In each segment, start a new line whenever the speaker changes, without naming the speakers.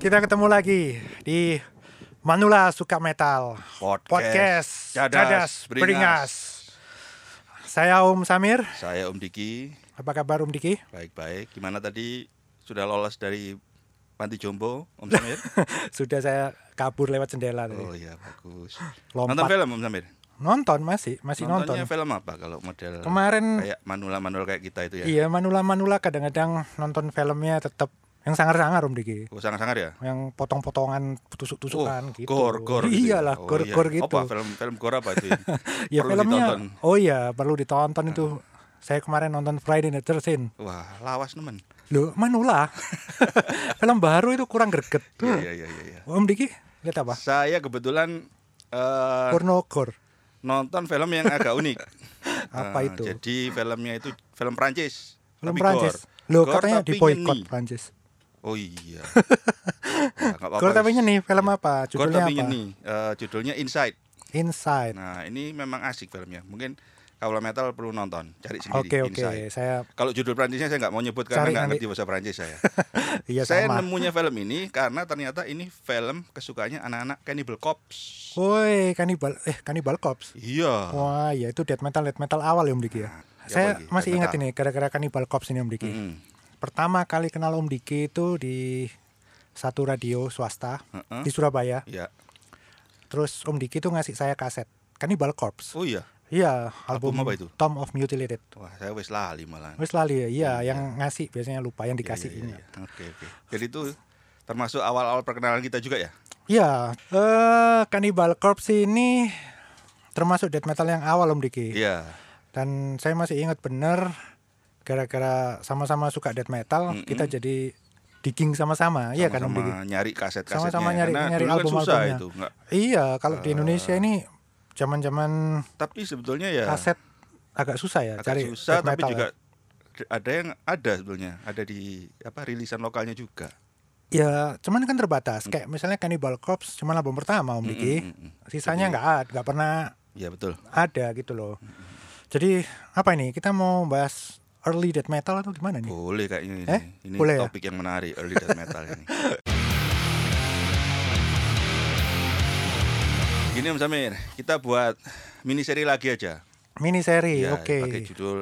Kita ketemu lagi di Manula Suka Metal
Podcast,
Podcast
Cadas, Beringas.
Saya Om Samir.
Saya Om Diki,
Apa kabar Om Diki?
baik-baik. Gimana tadi sudah lolos dari panti jompo, Om Samir?
Sudah saya kabur lewat jendela
oh
tadi.
iya, bagus.
Lompat.
Nonton film, Om Samir?
Nonton masih, masih
Nontonnya
nonton.
film apa kalau model
Kemarin-
kayak manula-manula kayak kita itu ya?
Iya, Manula-Manula kadang-kadang nonton filmnya tetap yang sangar-sangar Om Diki.
Oh, sangar-sangar ya?
Yang potong-potongan, tusuk-tusukan gitu.
gor, gor. gitu ya?
Iyalah,
Oh, iya.
gor-gor gitu.
Apa film film gor apa itu?
ya
Perlu
filmnya
ditonton.
oh iya perlu ditonton itu saya kemarin nonton Friday the 13
Wah, lawas nemen.
loh manula film baru itu kurang greget
Iya, iya, iya, iya.
Om Diki lihat apa
Saya kebetulan eh,
pornogor
nonton film yang agak unik.
Apa
Eh,
itu?
Jadi filmnya itu film Prancis.
film
tapi
Prancis
gore.
loh
Gore
katanya
tapi
di boykot
nyeni.
Prancis
Oh iya. Wah, nggak apa-apa,
Gore tapi
wis.
nyeni film apa
Iya. Gore
judulnya
tapi
apa
nyeni. Eh, judulnya Inside.
Inside
Nah ini memang asik filmnya. Mungkin Kaula Metal perlu nonton. Cari sendiri.
oke oke
Nah, Inside.
saya
Kalau judul Prancisnya saya nggak mau nyebut karena
Cari
nggak
nanti.
ngerti bahasa Prancis saya.
iya
saya
sama
nemunya film ini karena ternyata ini film kesukaannya anak-anak Cannibal Corpse.
woi kanibal eh kanibal cops
Iya.
wah ya itu death metal death metal awal ya Om Diki ya
Nah, iya,
saya
apalagi,
masih
death
ingat
metal.
ini gara-gara kanibal cops ini Om Diki
Mm.
pertama kali kenal Om Diki itu di satu radio swasta
Heeh.
di Surabaya.
Iya.
Terus Om Diki tuh ngasih saya kaset Kan Cannibal Corpse.
Oh iya.
Iya,
Album
album,
apa itu?
Tom of Mutilated.
Wah saya wis lali malah.
Wis lali ya, iya yang ngasih biasanya lupa yang dikasih
Iya,
ini. ya.
iya, iya. Oke oke. Jadi itu termasuk awal-awal perkenalan kita juga ya.
Iya, eh Cannibal Corpse ini termasuk death metal yang awal Om Diki.
Iya.
Dan saya masih ingat bener gara-gara sama-sama suka death metal,
Mm-mm.
kita jadi digging sama-sama. Iya kan Om Diki?
Sama-sama nyari kaset-kasetnya.
Sama-sama nyari-
Karena
nyari
dulu kan
album-albumnya.
susah itu. Nggak.
Iya, kalau di Indonesia
Eh.
ini zaman-zaman
Tapi sebetulnya ya
kaset agak susah ya
agak
cari
susah
death
tapi
metal ya.
juga ada yang ada sebetulnya. Ada di apa rilisan lokalnya juga.
ya. Ya, cuman kan
Hmm.
terbatas. Kayak misalnya Cannibal Corpse cuma album pertama Om Diki.
Mm, mm, mm.
Sisanya
Jadi-
nggak ada, nggak pernah
Iya betul.
ada gitu loh.
Hmm,
Jadi apa ini? Kita mau bahas early death metal atau gimana nih?
Boleh kayaknya ini.
Eh,
Ini
boleh ya?
topik yang menarik early death metal ini. Gini Om Samir, kita buat mini seri lagi aja.
Mini seri,
Ya,
Iya, oke. Oh, iya.
pakai judul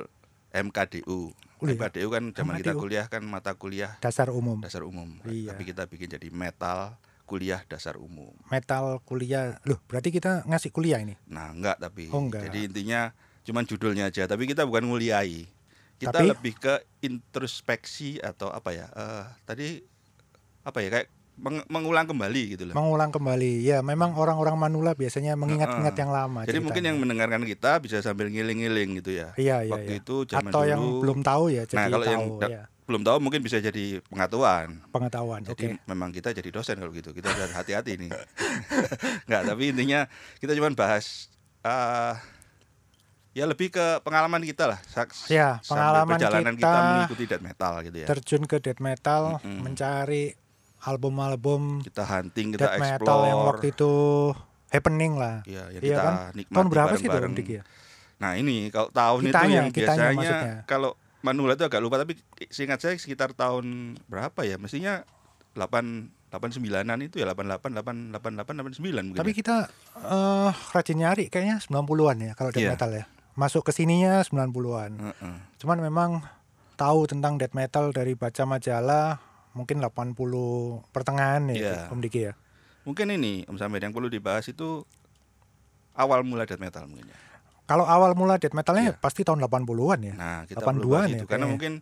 MKDU.
Udah.
MKDU kan zaman kita
MKDU.
kuliah kan mata kuliah
Dasar umum.
dasar umum.
Iya.
Tapi kita bikin jadi metal kuliah dasar umum.
Metal kuliah. Loh, berarti kita ngasih kuliah ini.
Nah, enggak tapi.
Oh, enggak.
Jadi intinya cuman judulnya aja, tapi kita bukan nguliai. Kita
Tapi-
lebih ke introspeksi atau apa ya? eh, tadi apa ya kayak meng- mengulang kembali gitu loh.
Mengulang kembali. Ya, memang orang-orang Manula biasanya mengingat-ingat
Heeh.
yang lama.
Jadi mungkin yang
ceritanya.
mendengarkan kita bisa sambil ngiling-ngiling gitu ya.
Iya, iya,
Waktu
iya.
itu zaman
atau
dulu.
yang belum tahu ya
nah,
jadi
kalau
tahu
yang da-
ya.
belum tahu mungkin bisa jadi pengetahuan.
pengetahuan. Oke.
Jadi ya. memang kita jadi dosen kalau gitu. Kita harus hati-hati nih. Enggak, tapi intinya kita cuman bahas eh ya lebih ke pengalaman kita lah. Sa-
Ya,
sambil
pengalaman
perjalanan kita,
kita
mengikuti death metal gitu ya.
terjun ke death metal,
Mm-mm.
mencari album-album
Kita hunting, kita
death
explore.
metal yang waktu itu happening lah.
Iya, yang
Iya
kita
kan?
nikmati
Tahun berapa sih itu
bareng-bareng.
Om Diki ya?
Nah, ini kalau tahun
Kitanya,
itu yang
kitanya
biasanya
maksudnya.
kalau Manula itu agak lupa tapi seingat saya sekitar tahun berapa ya? Mestinya 8 89-an itu ya 88 88 88 89 mungkin.
Tapi
ya.
kita eh rajin nyari kayaknya 90-an ya kalau death
Iya.
metal ya. Masuk ke sininya 90-an.
ya. Heeh.
Cuman memang tahu tentang death metal dari baca majalah mungkin 80 pertengahan
Iya.
ya Om Diki ya.
Mungkin ini Om Samir yang perlu dibahas itu awal mula death metal mungkin ya.
Kalau awal mula death metalnya
Iya.
pasti tahun 80-an ya.
Nah, kita
82-an
perlu bahas
ya
itu
kayaknya.
karena mungkin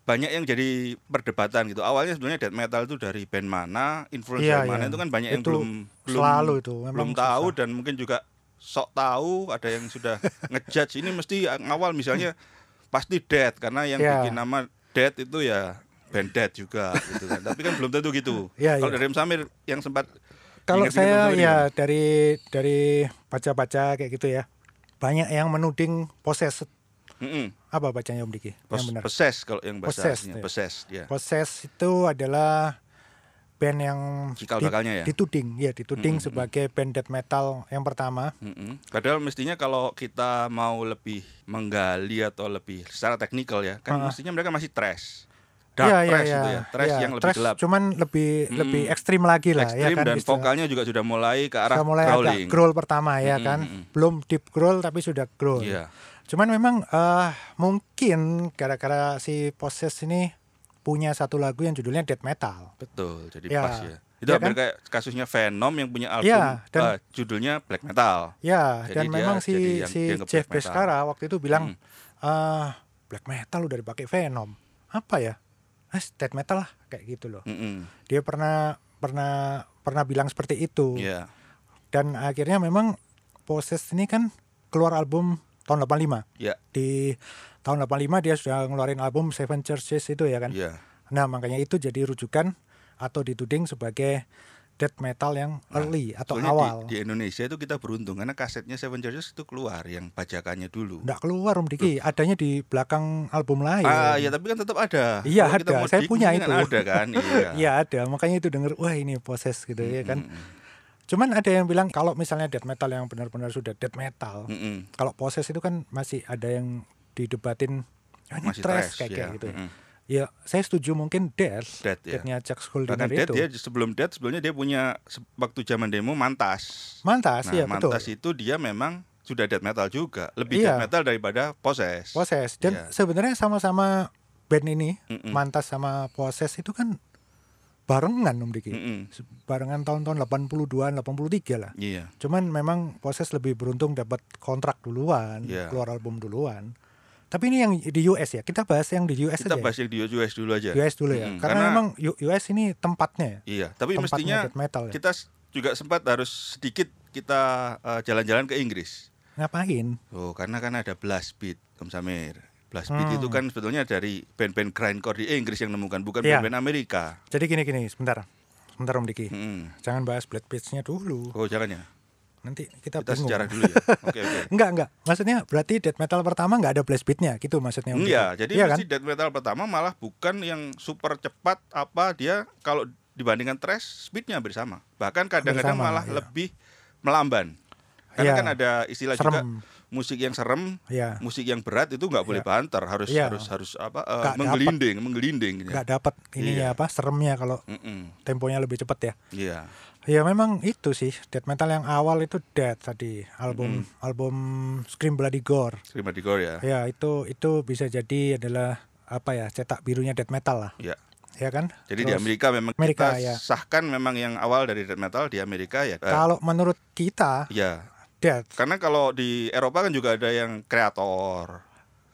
banyak yang jadi perdebatan gitu. Awalnya sebenarnya death metal itu dari band mana, influencer
Iya,
mana
iya.
itu kan banyak yang
Itu
belum belum
selalu itu, memang
belum tahu
susah.
dan mungkin juga sok tahu, ada yang sudah ngejudge ini mesti awal misalnya pasti death karena yang
Iya.
bikin nama death itu ya band death juga gitu kan. Tapi kan belum tentu gitu.
Iya,
Kalau
iya.
dari Om Samir yang sempat
Kalau
ingat-ingat Om
saya
Samir
ya dari dari baca-baca kayak gitu ya. Banyak yang menuding possessed.
gimana? Mm-mm.
Apa bacanya Om Diki?
Pos,
yang benar.
Possess kalau yang bahasa
Possess,
aslinya,
ya.
possess, ya.
Possessed itu adalah band yang
Cikal
di-
bakalnya ya?
dituding, ya dituding
Mm, mm, mm.
sebagai band death metal yang pertama.
Mm-mm. Padahal mestinya kalau kita mau lebih menggali atau lebih secara teknikal ya, kan
Ah.
mestinya mereka masih trash. dark
Iya, iya,
thrash
iya.
gitu ya thrash
Iya,
yang lebih
thrash
gelap Hmm.
Cuman lebih lebih ekstrim lagi lah
ekstrim
ya kan.
dan
istilah-
vokalnya juga sudah mulai ke arah
sudah mulai
growling
agak growl pertama ya
Mm,
kan.
mm, mm.
Belum deep growl tapi sudah growl.
Iya.
Cuman memang eh mungkin gara-gara si Possess ini punya satu lagu yang judulnya death metal.
betul jadi
Iya.
pas ya itu
Iya
hampir
kan?
kayak kasusnya Venom yang punya album
Iya, dan-
eh, judulnya black metal
Ya,
Jadi
dan
dia-
memang
jadi
si
yang
si
dianggap
Jeff
black metal. Hmm.
Beskara waktu itu bilang eh black metal udah dipakai Venom. Apa ya? Ah, death metal lah kayak gitu loh.
Mm-mm.
Dia pernah pernah pernah bilang seperti itu.
Iya.
Dan akhirnya memang Possess ini kan keluar album tahun 85.
Iya.
Di tahun 85 dia sudah ngeluarin album Seven Churches itu ya kan.
Iya.
Nah, makanya itu jadi rujukan atau dituding sebagai death metal yang early atau
Soalnya di-
awal.
Di, Indonesia itu kita beruntung karena kasetnya Seven Churches itu keluar yang bajakannya dulu.
Nggak keluar Om Diki, adanya di belakang album lain.
Ah, ya tapi kan tetap ada.
Iya,
Kalau kita
ada.
mau
Saya
diik,
punya
mungkin
itu.
Ada kan? Iya.
Iya ada, makanya itu denger wah ini proses gitu ya kan.
Mm-mm.
Cuman ada yang bilang kalau misalnya death metal yang benar-benar sudah death metal,
Mm-mm.
kalau proses itu kan masih ada yang didebatin "Ah, ini
Masih
thrash
trash,
kayak
ya.
kayak gitu.
Mm-mm.
Ya saya setuju mungkin death,
Death, ya.
deathnya Jack Schuldiner
Bahkan Dead
itu.
dia sebelum Dead sebelumnya dia punya se- waktu zaman demo Mantas.
Mantas
nah,
ya betul.
Mantas itu dia memang sudah death metal juga, lebih
Iya.
death metal daripada Possess.
Proses dan
Iya.
sebenarnya sama-sama band ini
Mm-mm.
Mantas sama proses itu kan barengan Om Diki.
Mm-mm.
Barengan tahun-tahun 82-an, 83 lah.
Iya.
Cuman memang proses lebih beruntung dapat kontrak duluan,
Iya.
keluar album duluan. Tapi ini yang di US ya. Kita bahas yang di US
Kita
aja. ya.
bahas yang di US dulu aja.
US dulu ya.
Mm-mm.
Karena, memang U- US ini tempatnya. ya.
Iya, tapi
tempatnya
mestinya
death metal ya.
kita s- juga sempat harus sedikit kita eh, jalan-jalan ke Inggris.
Ngapain?
Oh, karena kan ada blast beat, Om Samir. Blast beat
Hmm.
itu kan sebetulnya dari band-band grindcore di Inggris yang nemukan, bukan
Iya.
band-band Amerika.
Jadi gini-gini, sebentar. Sebentar Om Diki.
Mm-mm.
Jangan bahas Black Beats-nya dulu.
Oh, jangan ya.
Nanti kita,
Kita
bingung.
sejarah dulu ya. Oke, oke.
Enggak, enggak. Maksudnya berarti death metal pertama enggak ada blast beatnya gitu maksudnya. Om Diki.
Iya, jadi
Iya kan?
mesti death metal pertama malah bukan yang super cepat apa dia kalau dibandingkan thrash speednya hampir sama. Bahkan kadang-kadang
sama,
malah
iya.
lebih melamban. Karena
Iya.
kan ada istilah juga
Serem.
musik yang serem,
Iya.
musik yang berat itu nggak boleh
Iya.
banter, harus
Iya.
harus harus apa eh,
Nggak
menggelinding, menggelinding. ya.
Enggak dapat ininya
Iya.
apa? Seremnya kalau
Mm-mm.
temponya lebih cepat ya.
Iya.
Ya memang itu sih death metal yang awal itu Death tadi album album Scream Bloody Gore.
Terima di gore ya.
Ya itu itu bisa jadi adalah apa ya cetak birunya death metal lah,
Iya.
ya kan?
Jadi eh, di
Terus,
Amerika memang
Amerika,
kita
ya.
sahkan memang yang awal dari death metal di Amerika ya. eh,
kalau menurut kita
Iya.
Death
Karena kalau di Eropa kan juga ada yang kreator.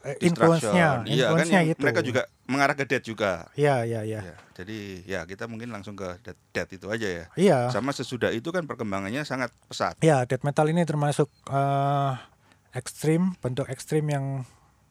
eh,
Destruction.
influence-nya,
iya, kan
influence-nya
yang
gitu.
mereka juga mengarah ke dead juga.
Iya, iya, iya.
Ya, jadi ya kita mungkin langsung ke dead, dead itu aja ya.
Iya.
Sama sesudah itu kan perkembangannya sangat pesat.
Ya, death metal ini termasuk eh, ekstrim, bentuk ekstrim yang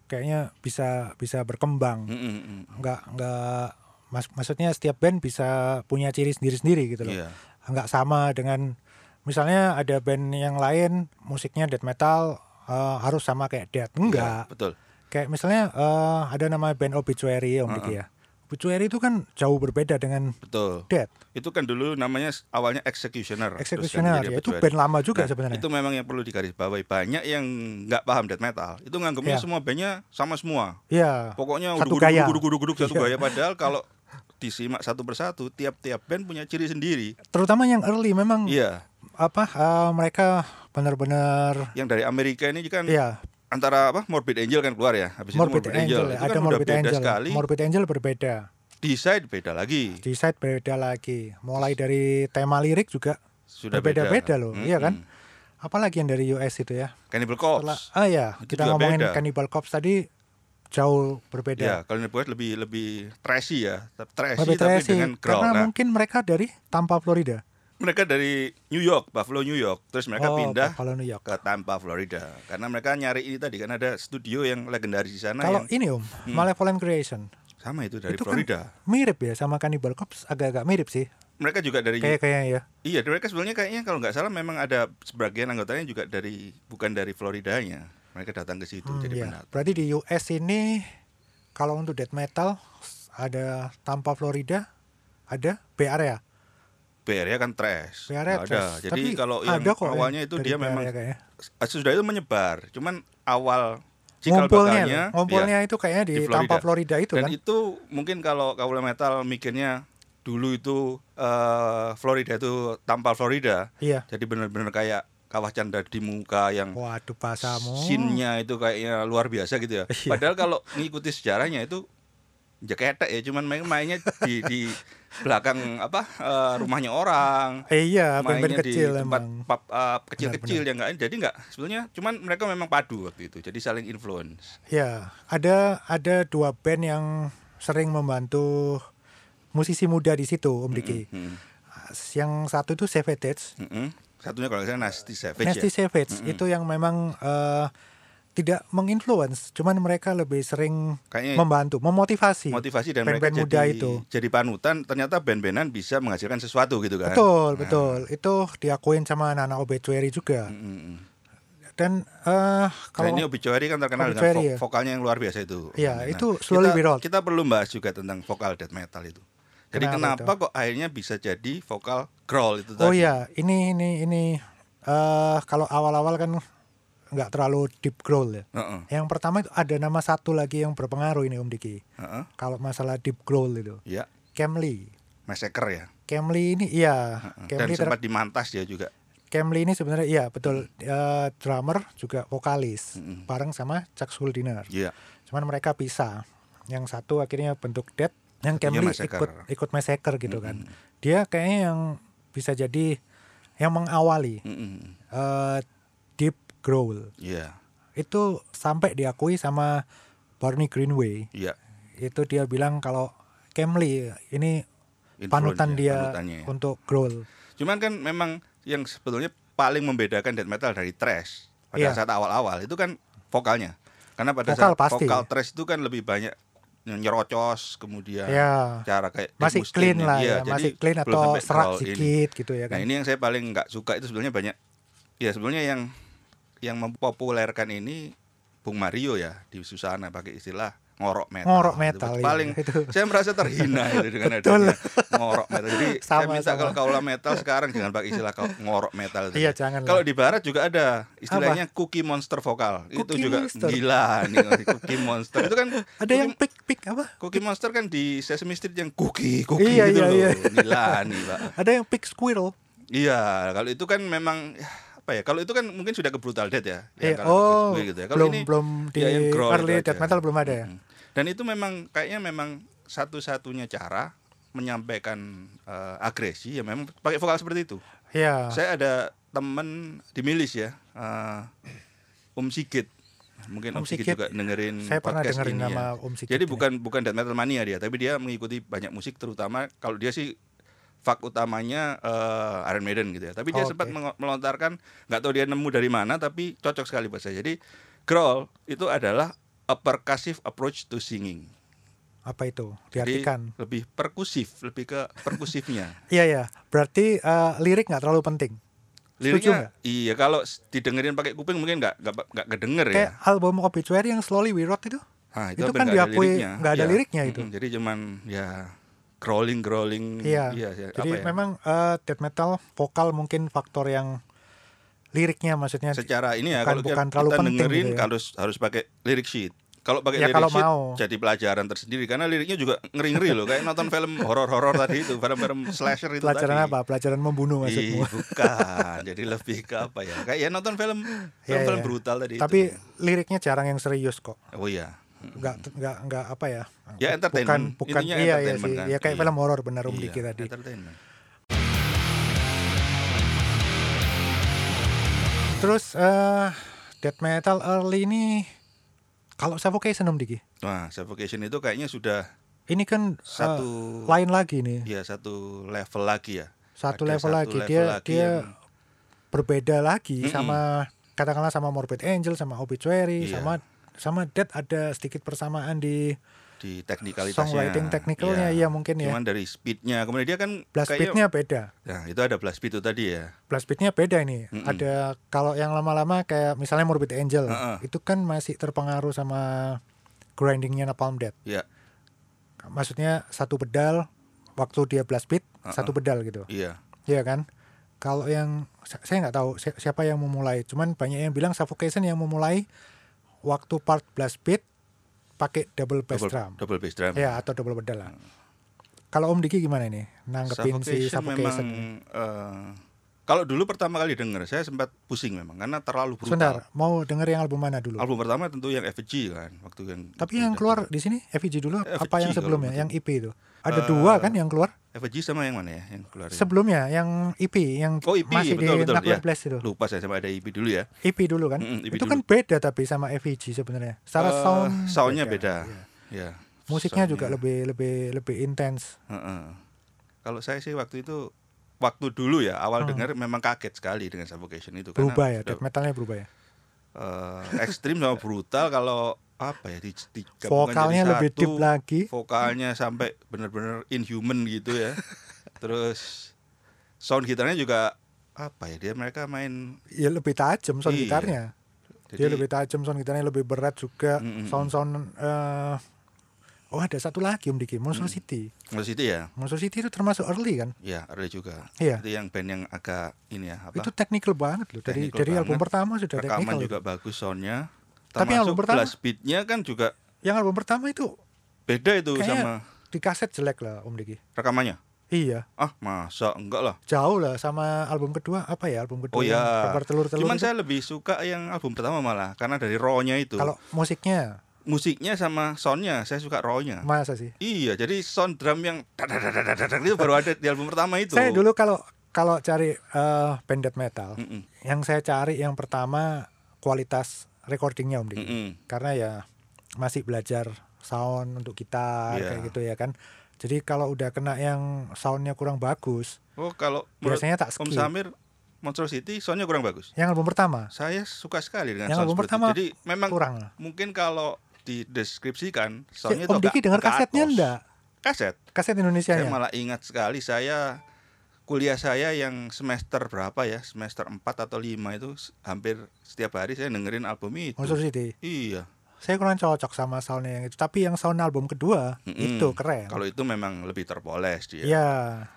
kayaknya bisa bisa berkembang.
Mm, mm, mm.
Nggak nggak mas- maksudnya setiap band bisa punya ciri sendiri-sendiri gitu loh.
Iya.
Nggak sama dengan misalnya ada band yang lain musiknya death metal eh, harus sama kayak death.
Iya,
Enggak.
betul.
Kayak misalnya eh, ada nama band Obituary Om Diki ya. Obituary itu kan jauh berbeda dengan
Betul.
death.
Itu kan dulu namanya s- awalnya executioner. terus
Executioner
ganti jadi
ya, itu
obituary.
band lama juga
Nah,
sebenarnya.
Itu memang yang perlu digarisbawahi. Banyak yang nggak paham death metal. Itu nganggapnya
Iya.
semua bandnya sama semua.
Iya.
Pokoknya
Satu
guduk
gaya.
guduk guduk guduk satu
Iya.
gaya padahal kalau disimak satu persatu tiap-tiap band punya ciri sendiri.
Terutama yang early memang
Iya.
apa eh, mereka benar-benar
yang dari Amerika ini kan
ya
antara apa Morbid Angel kan keluar ya habis
Morbid
itu Morbid Angel,
Angel,
itu
ada
kan udah
Morbid
beda
Angel
sekali
Morbid Angel berbeda
Decide beda lagi
di side beda lagi mulai dari tema lirik juga
sudah beda
berbeda-beda loh iya kan
Mm-mm.
apalagi yang dari US itu ya
Cannibal Corpse
Setelah- ah ya
Itu
kita
juga
ngomongin
beda.
Cannibal Corpse tadi jauh
ya
berbeda
kalau ini buat lebih lebih trashy ya trashy
lebih
tapi
trashy
dengan growl
karena
Nah,
mungkin mereka dari Tampa Florida
mereka dari New York Buffalo New York terus mereka
Oh,
pindah
Buffalo, New York.
ke Tampa Florida karena mereka nyari ini tadi kan ada studio yang legendaris di sana
kalau
yang
ini om Malevolent Creation
sama itu Hmm. dari
itu
Florida
kan mirip ya sama Cannibal Corpse agak-agak mirip sih
mereka juga dari
kayak kayaknya ya
iya mereka sebelumnya kayaknya kalau nggak salah memang ada sebagian anggotanya juga dari bukan dari Floridanya mereka datang ke situ
Hmm,
jadi
iya.
pendatang.
Berarti di US ini kalau untuk death metal ada Tampa Florida, ada Bay Area.
BRI kan trash.
Bay Area
Nggak ada.
terus.
Jadi
Tapi
kalau yang
ada kok yang
awalnya itu
dari
dia
Bay ya.
memang
Area kayaknya.
sesudah itu menyebar. Cuman awal cikal
ngumpulnya
bakalnya iya,
loh. ngumpulnya itu kayaknya di,
di Florida.
Tampa Florida itu
Dan
kan
itu mungkin kalau Kaula Metal mikirnya dulu itu eh, Florida itu tanpa Florida.
iya Oh,
Jadi benar-benar kayak kawah canda di muka yang
waduh pasamu
scene-nya itu kayaknya luar biasa gitu ya.
Iya.
Padahal kalau ngikuti sejarahnya itu ya ketek ya cuman main mainnya di di belakang apa eh, rumahnya orang.
eh, iya band
mainnya
kecil
di tempat
emang
pub, eh, kecil-kecil yang enggak jadi enggak sebetulnya cuman mereka memang padu waktu itu. Jadi saling influence.
ya ada ada dua band yang sering membantu musisi muda di situ Om Diki
Hmm.
yang satu itu Savage
Mm-mm. Satunya kalau nggak salah Nasty Savage
Nasty
ya.
Savage itu yang memang eh, tidak menginfluence cuman mereka lebih sering
Kayaknya
membantu memotivasi
Eh. motivasi dan mereka
band-band
jadi
muda
kan?
itu.
jadi panutan. Ternyata band-bandan bisa menghasilkan sesuatu gitu kan.
betul
Nah,
betul itu diakuin sama Nana Obituary juga
mm-mm.
dan eh
Kalau
kalau
ini Obituary kan terkenal
Obituary
dengan
ya.
vo- vokalnya yang luar biasa itu.
Iya,
Nah,
itu slowly
kita,
we roll.
Kita perlu bahas juga tentang vokal death metal itu. Jadi
Kenapa
kenapa, kok akhirnya bisa jadi vokal growl itu
Oh
tadi?
iya, ini ini ini eh kalau awal-awal kan nggak terlalu deep growl ya.
Heeh,
Yang pertama itu ada nama satu lagi yang berpengaruh ini Om Diki.
heeh.
Kalau masalah deep growl itu,
Iya,
Kemli.
Massacre ya.
Kemli ini iya,
Heeh. Dan
Kemli ter-
sempat dimantas dia juga.
Kemli ini sebenarnya iya betul eh, drummer juga vokalis
Mm-mm.
bareng sama Chuck Schuldiner.
Iya.
Cuman mereka pisah. Yang satu akhirnya bentuk Dead, yang
Satunya
Kemli
Massacre.
ikut ikut Massacre gitu kan.
Mm-mm.
Dia kayaknya yang bisa jadi yang mengawali
Mm-mm.
eh, deep growl
Iya,
itu sampai diakui sama Barney Greenway
iya.
itu dia bilang kalau Kemli ini
Influence
panutan
ya,
dia
panutannya ya.
untuk growl
Cuman kan memang yang sebetulnya paling membedakan death metal dari thrash pada
Iya.
saat awal-awal itu kan vokalnya. Karena pada
Vokal
saat
pasti.
vokal thrash itu kan lebih banyak nyerocos kemudian
ya
cara kayak Dave
masih
Mustaine
clean
ini.
lah
Iya,
ya,
jadi
masih clean
belum
atau
sampai
serak
growl ini.
sedikit gitu ya
Nah
kan
ini yang saya paling nggak suka itu sebenarnya banyak ya sebenarnya yang yang mempopulerkan ini Bung Mario ya di Susana pakai istilah ngorok metal.
ngorok
Itu
metal ya.
paling
itu
saya merasa terhina itu dengan
Betul.
adanya ngorok metal. Jadi saya
Sama,
minta
sama.
kalau kaulah metal sekarang jangan pakai istilah kau- ngorok metal. itu. ya.
iya jangan
Kalau di barat juga ada istilahnya cookie monster vokal. itu
Cookie
juga
monster.
gila nih cookie monster. Itu kan
ada yang pick pick apa
cookie monster kan di Sesame Street yang cookie cookie
Iya,
gitu
iya, iya.
loh. Gila nih, Pak.
ada yang pick squirrel
Iya, kalau itu kan memang ya, apa ya? Kalau itu kan mungkin sudah ke brutal death ya. ya
Iya,
kalau
oh
gue gitu ya. Kalau
belum
ini
belum di
ya, yang growl
early
itu
death
aja.
metal belum ada ya
Mm. Dan itu memang kayaknya memang satu-satunya cara menyampaikan eh, agresi ya memang pakai vokal seperti itu.
iya
Saya ada temen di milis ya, eh, Om Sigit. Mungkin
Om
Om, Sigit,
Sigit.
juga dengerin
saya pernah
podcast
dengerin
ini ya.
nama Om Sigit
Jadi
ini.
bukan bukan death metal mania dia, tapi dia mengikuti banyak musik terutama kalau dia sih fak utamanya eh, Iron Maiden gitu ya. Tapi dia
Oh,
sempat
oke.
mengo- melontarkan nggak tahu dia nemu dari mana tapi cocok sekali buat saya. Jadi growl itu adalah a percussive approach to singing.
apa itu
Jadi
diartikan
lebih perkusif, lebih ke perkusifnya.
Iya ya, berarti eh, lirik nggak terlalu penting. Setuju nggak?
Liriknya iya kalau s- didengerin pakai kuping mungkin nggak nggak nggak kedenger ya.
Kayak album Obituary yang Slowly We Rot itu,
Nah,
itu
hampir
kan
nggak ada
diakui
liriknya.
nggak ada
Iya.
liriknya itu.
Mm-mm, jadi cuman ya growling growling
Iya.
ya,
jadi
apa ya?
memang eh, death metal vokal mungkin faktor yang liriknya maksudnya.
secara ini ya
bukan-
kalau kita-
bukan terlalu
kita
penting
dengerin
gitu ya.
harus harus pakai lirik sheet. Kalau pakai
Ya,
lirik
kalau
sheet
mau.
jadi pelajaran tersendiri karena liriknya juga ngeri-ngeri loh kayak nonton film horor-horor tadi itu, film-film slasher itu
pelajaran
tadi. Iya.
apa? Pelajaran membunuh
Ih,
maksudmu.
bukan. jadi lebih ke apa ya? Kayak ya nonton film
Iya,
film-film
iya.
brutal tadi
Tapi
itu. ya.
liriknya jarang yang serius kok.
Oh iya.
Nggak nggak nggak apa ya?
Ya, entertainment.
Bukan bukan
Intinya
iya ya
entertainment
sih.
kan.
Ya kayak
Iya.
film horor benar Om
Iya,
Diki tadi.
entertainment.
Terus eh death metal early ini kalau Suffocation Om Diki.
Wah, Nah, suffocation itu kayaknya sudah
Ini kan eh,
satu
lain lagi nih.
Iya satu level lagi ya.
satu
Ada
level
satu
lagi
level
dia
lagi
dia
yang-
berbeda lagi
Mm-mm.
sama katakanlah sama Morbid Angel sama Obituary
Iya.
sama sama Dead ada sedikit persamaan di
Di teknikalitasnya.
songwriting technicalnya iya mungkin ya
Cuman dari speednya, kemudian dia kan
blast beatnya
kayaknya-
beda
Nah, itu ada blast beat itu tadi ya.
blast beatnya beda ini
Mm-mm.
ada kalau yang lama-lama kayak misalnya Morbid Angel
Heeh.
itu kan masih terpengaruh sama grindingnya Napalm Death
Iya,
maksudnya satu pedal waktu dia blast beat
Heeh.
satu pedal gitu
iya.
Iya kan? Kalau yang sa- saya nggak tahu si- siapa yang memulai, cuman banyak yang bilang suffocation yang memulai waktu part blast beat pakai double bass
double,
drum.
double bass drum.
Ya, atau double pedal lah. Kalau Om Diki gimana ini? Nanggepin si
Suffocation memang
Suffocation.
eh, kalau dulu pertama kali denger saya sempat pusing memang karena terlalu brutal.
Sebentar, mau denger yang album mana dulu?
Album pertama tentu yang FG kan waktu yang
Tapi yang keluar di sini FEG dulu apa
FEG
yang sebelumnya?
kalau
Yang IP itu. Ada
Eh,
dua kan yang keluar?
FG sama yang mana ya yang keluar? ya?
Sebelumnya yang IP yang
Oh IP
masih
betul
di
betul
Nakula
ya.
Blast itu.
Lupa saya sama ada IP dulu ya.
IP dulu kan?
Mm-mm, IP
itu kan beda tapi sama FEG sebenarnya. Secara
Eh,
sound Iya.
soundnya beda. Ya.
Musiknya
Soundnya.
juga lebih lebih lebih intens.
Heeh. Kalau saya sih waktu itu waktu dulu ya awal dengar memang kaget sekali dengan Suffocation itu karena
Hmm. Berubah ya,
sudah,
death metalnya berubah ya.
eh, ekstrim sama brutal kalau apa ya di, digabungkan
Vokalnya
jadi
lebih deep
satu,
lagi.
vokalnya sampai benar-benar inhuman gitu ya terus sound gitarnya juga apa ya dia mereka main
Ya lebih tajam sound
Iya.
gitarnya. Dia lebih tajam sound gitarnya lebih berat juga.
Mm-mm.
Sound-sound eh, Oh, ada satu lagi Om Diki, Monster
Mm.
City.
Terus itu ya
Monster City itu termasuk early kan?
ya ada juga
Iya.
itu yang band yang agak ini ya apa
Itu technical banget loh. Dari
Technical
dari album
banget.
pertama sudah
rekaman
technical.
juga bagus soundnya
Tapi yang album
termasuk
pertama-
blast beatnya kan juga
Yang album pertama itu
beda itu
Kayaknya-
sama
di kaset jelek lah Om Diki.
rekamannya
Iya,
ah masa enggak lah
jauh lah sama album kedua apa ya album kedua
Oh
yang
ya,
kabar telur-telur.
cuman
itu.
saya lebih suka yang album pertama malah karena dari raw-nya itu,
Kalau musiknya
musiknya sama soundnya saya suka raw-nya.
masa sih?
Iya, jadi sound drum yang dadadadadadadad itu baru ada di album pertama itu.
Saya dulu kalau kalau cari eh band death metal,
Mm-mm,
yang saya cari yang pertama kualitas recordingnya Om Diki.
mm-mm.
Karena ya masih belajar sound untuk gitar
Iya.
kayak gitu ya kan. Jadi kalau udah kena yang soundnya kurang bagus,
Oh, kalau menurut
biasanya tak
Om
skip.
Samir Monster City soundnya kurang bagus.
Yang album pertama
Saya suka sekali dengan
Yang
sound
album
seperti itu.
pertama
Jadi memang
kurang lah.
mungkin kalau dideskripsikan
Si-
soundnya itu
Om Diki
agak-
dengar
agak
kasetnya Ya,
atos.
enggak?
Kaset.
Kaset Indonesia
Saya malah ingat sekali saya kuliah saya yang semester berapa ya? Semester 4 atau 5 itu s- hampir setiap hari saya dengerin album itu.
Monster City.
Iya.
Saya kurang cocok sama soundnya yang itu. Tapi yang sound album kedua
Mm-mm.
itu keren.
Kalau iya. itu memang lebih terpoles dia.
Ya,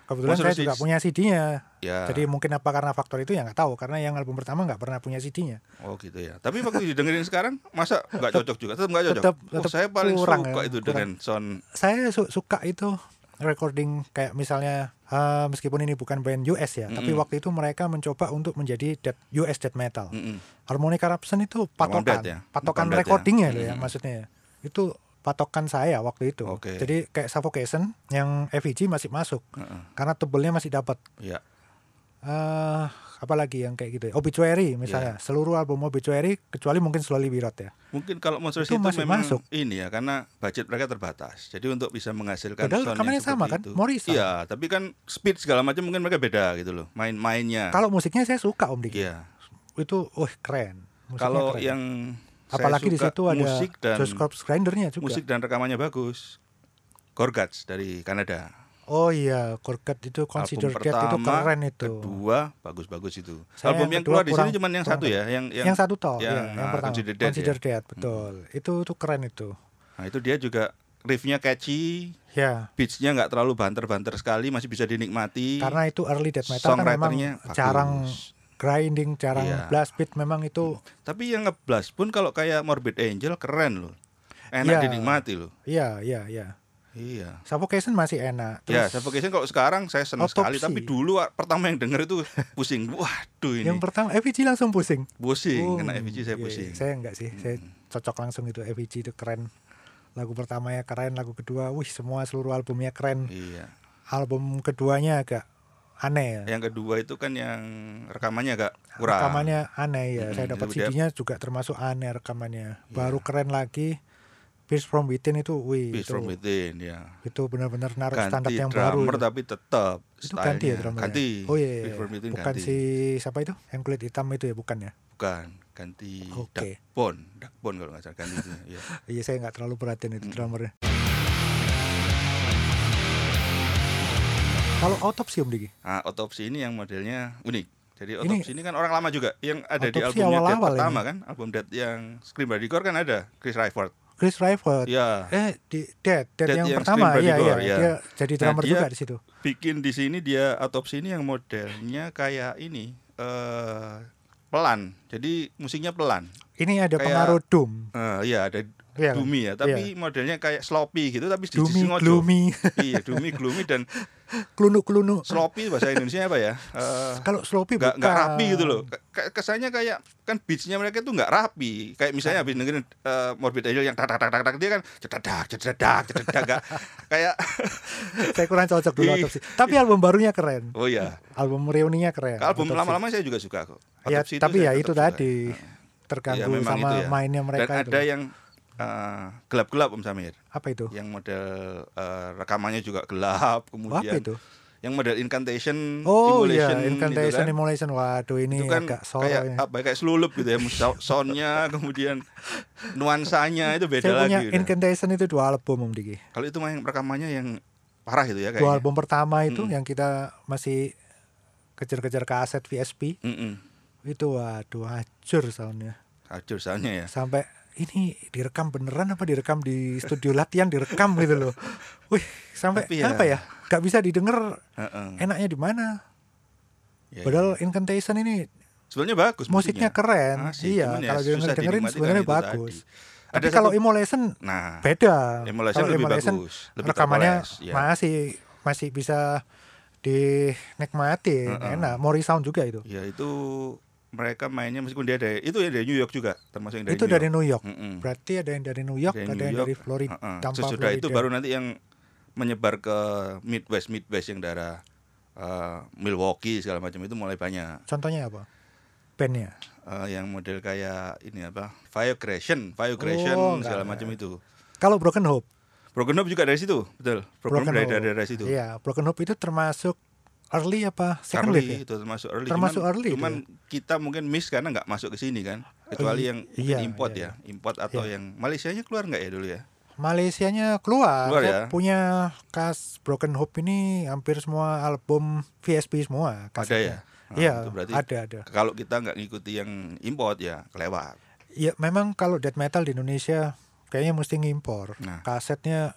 kebetulan
Monster
saya
City-
juga punya CD-nya.
Ya.
Jadi mungkin apa karena faktor itu ya nggak tahu. Karena yang album pertama nggak pernah punya CD-nya.
Oh gitu ya. Tapi waktu didengerin sekarang masa nggak cocok juga? Tetap nggak cocok.
Tetap-
Oh,
tetap
saya paling
kurang
suka
ya,
itu
kurang.
dengan sound
Saya su- suka itu recording kayak misalnya eh, meskipun ini bukan band US ya, tapi
Mm-mm.
waktu itu mereka mencoba untuk menjadi death, US death metal.
Mm-mm.
Harmonica Corruption itu patokan,
Death ya?
patokan
Bukan Death ya?
recordingnya loh ya
Mm-mm.
maksudnya. ya. Itu patokan saya waktu itu.
Oke.
Jadi kayak Suffocation yang FEG masih masuk
Heeh.
karena tebelnya masih dapat.
ya.
eh apalagi yang kayak gitu ya. Obituary misalnya,
Iya.
seluruh album Obituary kecuali mungkin Slowly Birot ya.
Mungkin kalau Monster
Itu
City
masih
memang
masuk.
ini ya karena budget mereka terbatas. Jadi untuk bisa menghasilkan
Padahal
sound
rekamannya
yang seperti
sama kan?
itu.
Morrison.
Iya, tapi kan speed segala macam mungkin mereka beda gitu loh. Iya. Main-mainnya.
Kalau musiknya saya suka Om Diki.
Iya.
Itu wah keren. Musiknya
Kalau
keren.
yang saya
apalagi di
suka
situ ada
musik dan
Josh Corps Grindernya juga.
musik dan rekamannya bagus. Gorgats dari Kanada.
Oh iya, Korkat itu Consider
album
Dead itu
pertama,
keren itu.
Kedua bagus-bagus itu.
Saya
album
yang
yang
kedua
keluar di sini
kurang-
cuma yang
kurang
satu ya, yang yang,
yang, satu toh,
ya,
iya, yang
nah,
pertama.
Consider Dead ya. Hmm.
Dead, betul. Itu tuh keren itu.
Nah, itu dia juga riffnya catchy,
Ya,
beatsnya nggak terlalu banter-banter sekali, masih bisa dinikmati.
karena itu early death metal kan memang
songwriternya bagus.
jarang grinding, jarang
Iya.
blast beat memang itu
Tapi yang ngeblast pun kalau kayak Morbid Angel keren loh. Enak
Iya.
dinikmati loh.
iya, iya, iya.
Iya.
Suffocation
Suffocation
masih enak. Terus
ya, Suffocation kalau sekarang saya senang sekali,
Autopsy.
tapi dulu ah, pertama yang denger itu pusing. Waduh ini.
yang pertama FEG langsung pusing.
pusing, kena
Um,
FG saya
iya,
pusing. Hmm.
iya. Saya enggak sih, saya cocok langsung itu FEG itu keren. Lagu pertamanya keren, lagu kedua, wih semua seluruh albumnya keren.
Iya.
Album keduanya agak aneh ya.
Yang kedua itu kan yang rekamannya agak kurang. Hmm,
rekamannya aneh ya.
Mm-mm,
Saya dapat
itu dia-
CD-nya juga termasuk aneh rekamannya.
Iya.
Baru keren lagi. Pierce from Within itu, wih itu,
Beast from Within ya.
itu benar-benar naruh gitu. standar
Ganti
yang baru. ya.
drummer tapi tetap
itu ganti ya
stylenya.
drummernya.
Ganti.
Oh iya, iya,
Beast from
iya.
Within
bukan
ganti.
si siapa itu? Yang kulit hitam itu ya, bukan ya?
Bukan, ganti
Oke.
Dakbon, Dakbon kalau nggak salah ganti itu. Iya.
Iya, saya nggak terlalu perhatiin
Hmm.
itu drummernya. Kalau autopsi Om Diki,
Nah, autopsi ini yang modelnya unik. Jadi
Ini-
autopsi ini, kan orang lama juga yang ada di
Autopsi
albumnya Dead
awal-awal
pertama
ini.
kan, album Dead yang Scream Radicore kan ada Chris Riford.
Chris Rifle,
Iya.
eh di Dead, Dead,
Dead
yang,
yang
pertama,
Scream
iya iya,
Predator, ya.
dia jadi
Nah,
drummer
dia-
juga di situ.
Bikin di sini dia autopsi ini yang modelnya kayak ini eh pelan. Jadi musiknya pelan.
ini ada
Kayak-
pengaruh doom
Eh, iya ada
Iya kan?
gloomy ya, tapi modelnya kayak sloppy gitu tapi di
Gloomy,
ngojo.
gloomy,
Iya, gloomy, gloomy dan
klunuk klunuk.
sloppy bahasa Indonesia apa ya? Eh,
Kalau sloppy
nggak
bukan.
nggak rapi gitu loh. Ke- ke- Kesannya kayak kan beatsnya mereka itu nggak rapi. Kayak misalnya habis dengerin eh, Morbid Angel yang tak tak tak tak tak, dia kan cedadak cedadak cedadak nggak- kayak
Saya kurang cocok dulu
Iya.
otopsi. Tapi album barunya keren.
oh ya.
Album reuninya keren.
Album
Autopsy.
lama-lama saya juga suka kok.
Ya,
Autopsy
tapi ya
saya tetap
itu
suka.
tadi
Ya,
terganggu
memang
sama
itu ya.
mainnya mereka
Dan
itu.
ada yang eh, gelap-gelap Om Samir.
Apa itu?
yang model eh, rekamannya juga
Wah,
gelap
Apa
kemudian
itu?
yang model incantation
Oh iya,
hmm, emulation
incantation
gitu kan,
emulation. Waduh ini
itu kan
agak sore
kayak
ini.
apa kayak selulup gitu ya sou- soundnya kemudian nuansanya itu beda
Saya punya
lagi udah.
incantation itu dua album Om Diki.
kalau itu main rekamannya yang parah itu ya
Dua
kayaknya Hmm.
album pertama itu
Mm-mm.
yang kita masih kejar-kejar kaset VSP
Mm-mm.
itu waduh hancur soundnya.
hancur soundnya ya
sampai ini direkam beneran apa direkam di studio latihan direkam gitu loh. Wih, sampai
Tapi ya-
apa ya? Gak bisa didengar
Heeh. Iya,
enaknya di mana. Eh,
Ya,
Padahal Incantation ini
sebenarnya bagus
musiknya keren.
Asik,
iya,
cuman ya
kalau
susah
denger dengerin
dinikmati
sebenarnya
karena itu
bagus.
tadi.
Tapi
Ada
kalau
satu-
Immolation
nah
beda.
Immolation
Kalau
lebih
Immolation
bagus, lebih
rekamannya
terpoles, ya.
masih masih bisa dinikmati,
Heeh.
enak. Mori sound juga itu.
ya itu mereka mainnya meskipun dia dari itu ya dari New York juga termasuk yang dari
itu
New
dari
York.
New York.
Mm-mm.
Berarti ada yang dari New York, ada yang
New
dari
York,
Florida.
heeh.
Tampa,
Sesudah itu
Florida.
baru nanti yang menyebar ke Midwest, Midwest yang daerah eh, Milwaukee segala macam itu mulai banyak.
Contohnya apa? Bandnya.
Eh, yang model kayak ini apa? Fire Creation, Fire Creation
Oh,
segala
enggak.
macam itu.
Kalau Broken Hope,
Broken Hope juga dari situ, betul. Broken, Hope dari
Hope.
daerah situ.
Iya, Broken Hope itu termasuk early apa second
Early,
wave ya?
itu termasuk early.
Termasuk
cuman,
early itu ya?
cuman kita mungkin miss karena nggak masuk ke sini kan. Kecuali
iya,
yang mungkin
iya,
import
iya.
ya, import atau yang Malaysianya keluar nggak ya dulu ya?
Malaysianya keluar,
Keluar
Saya
ya.
punya kas Broken Hope ini hampir semua album VSP semua.
Ada ya.
kasetnya.
Nah,
Iya,
itu berarti
ada ada.
kalau kita nggak ngikuti yang import ya kelewat.
Ya memang kalau death metal di Indonesia kayaknya mesti ngimpor.
Nah.
Kasetnya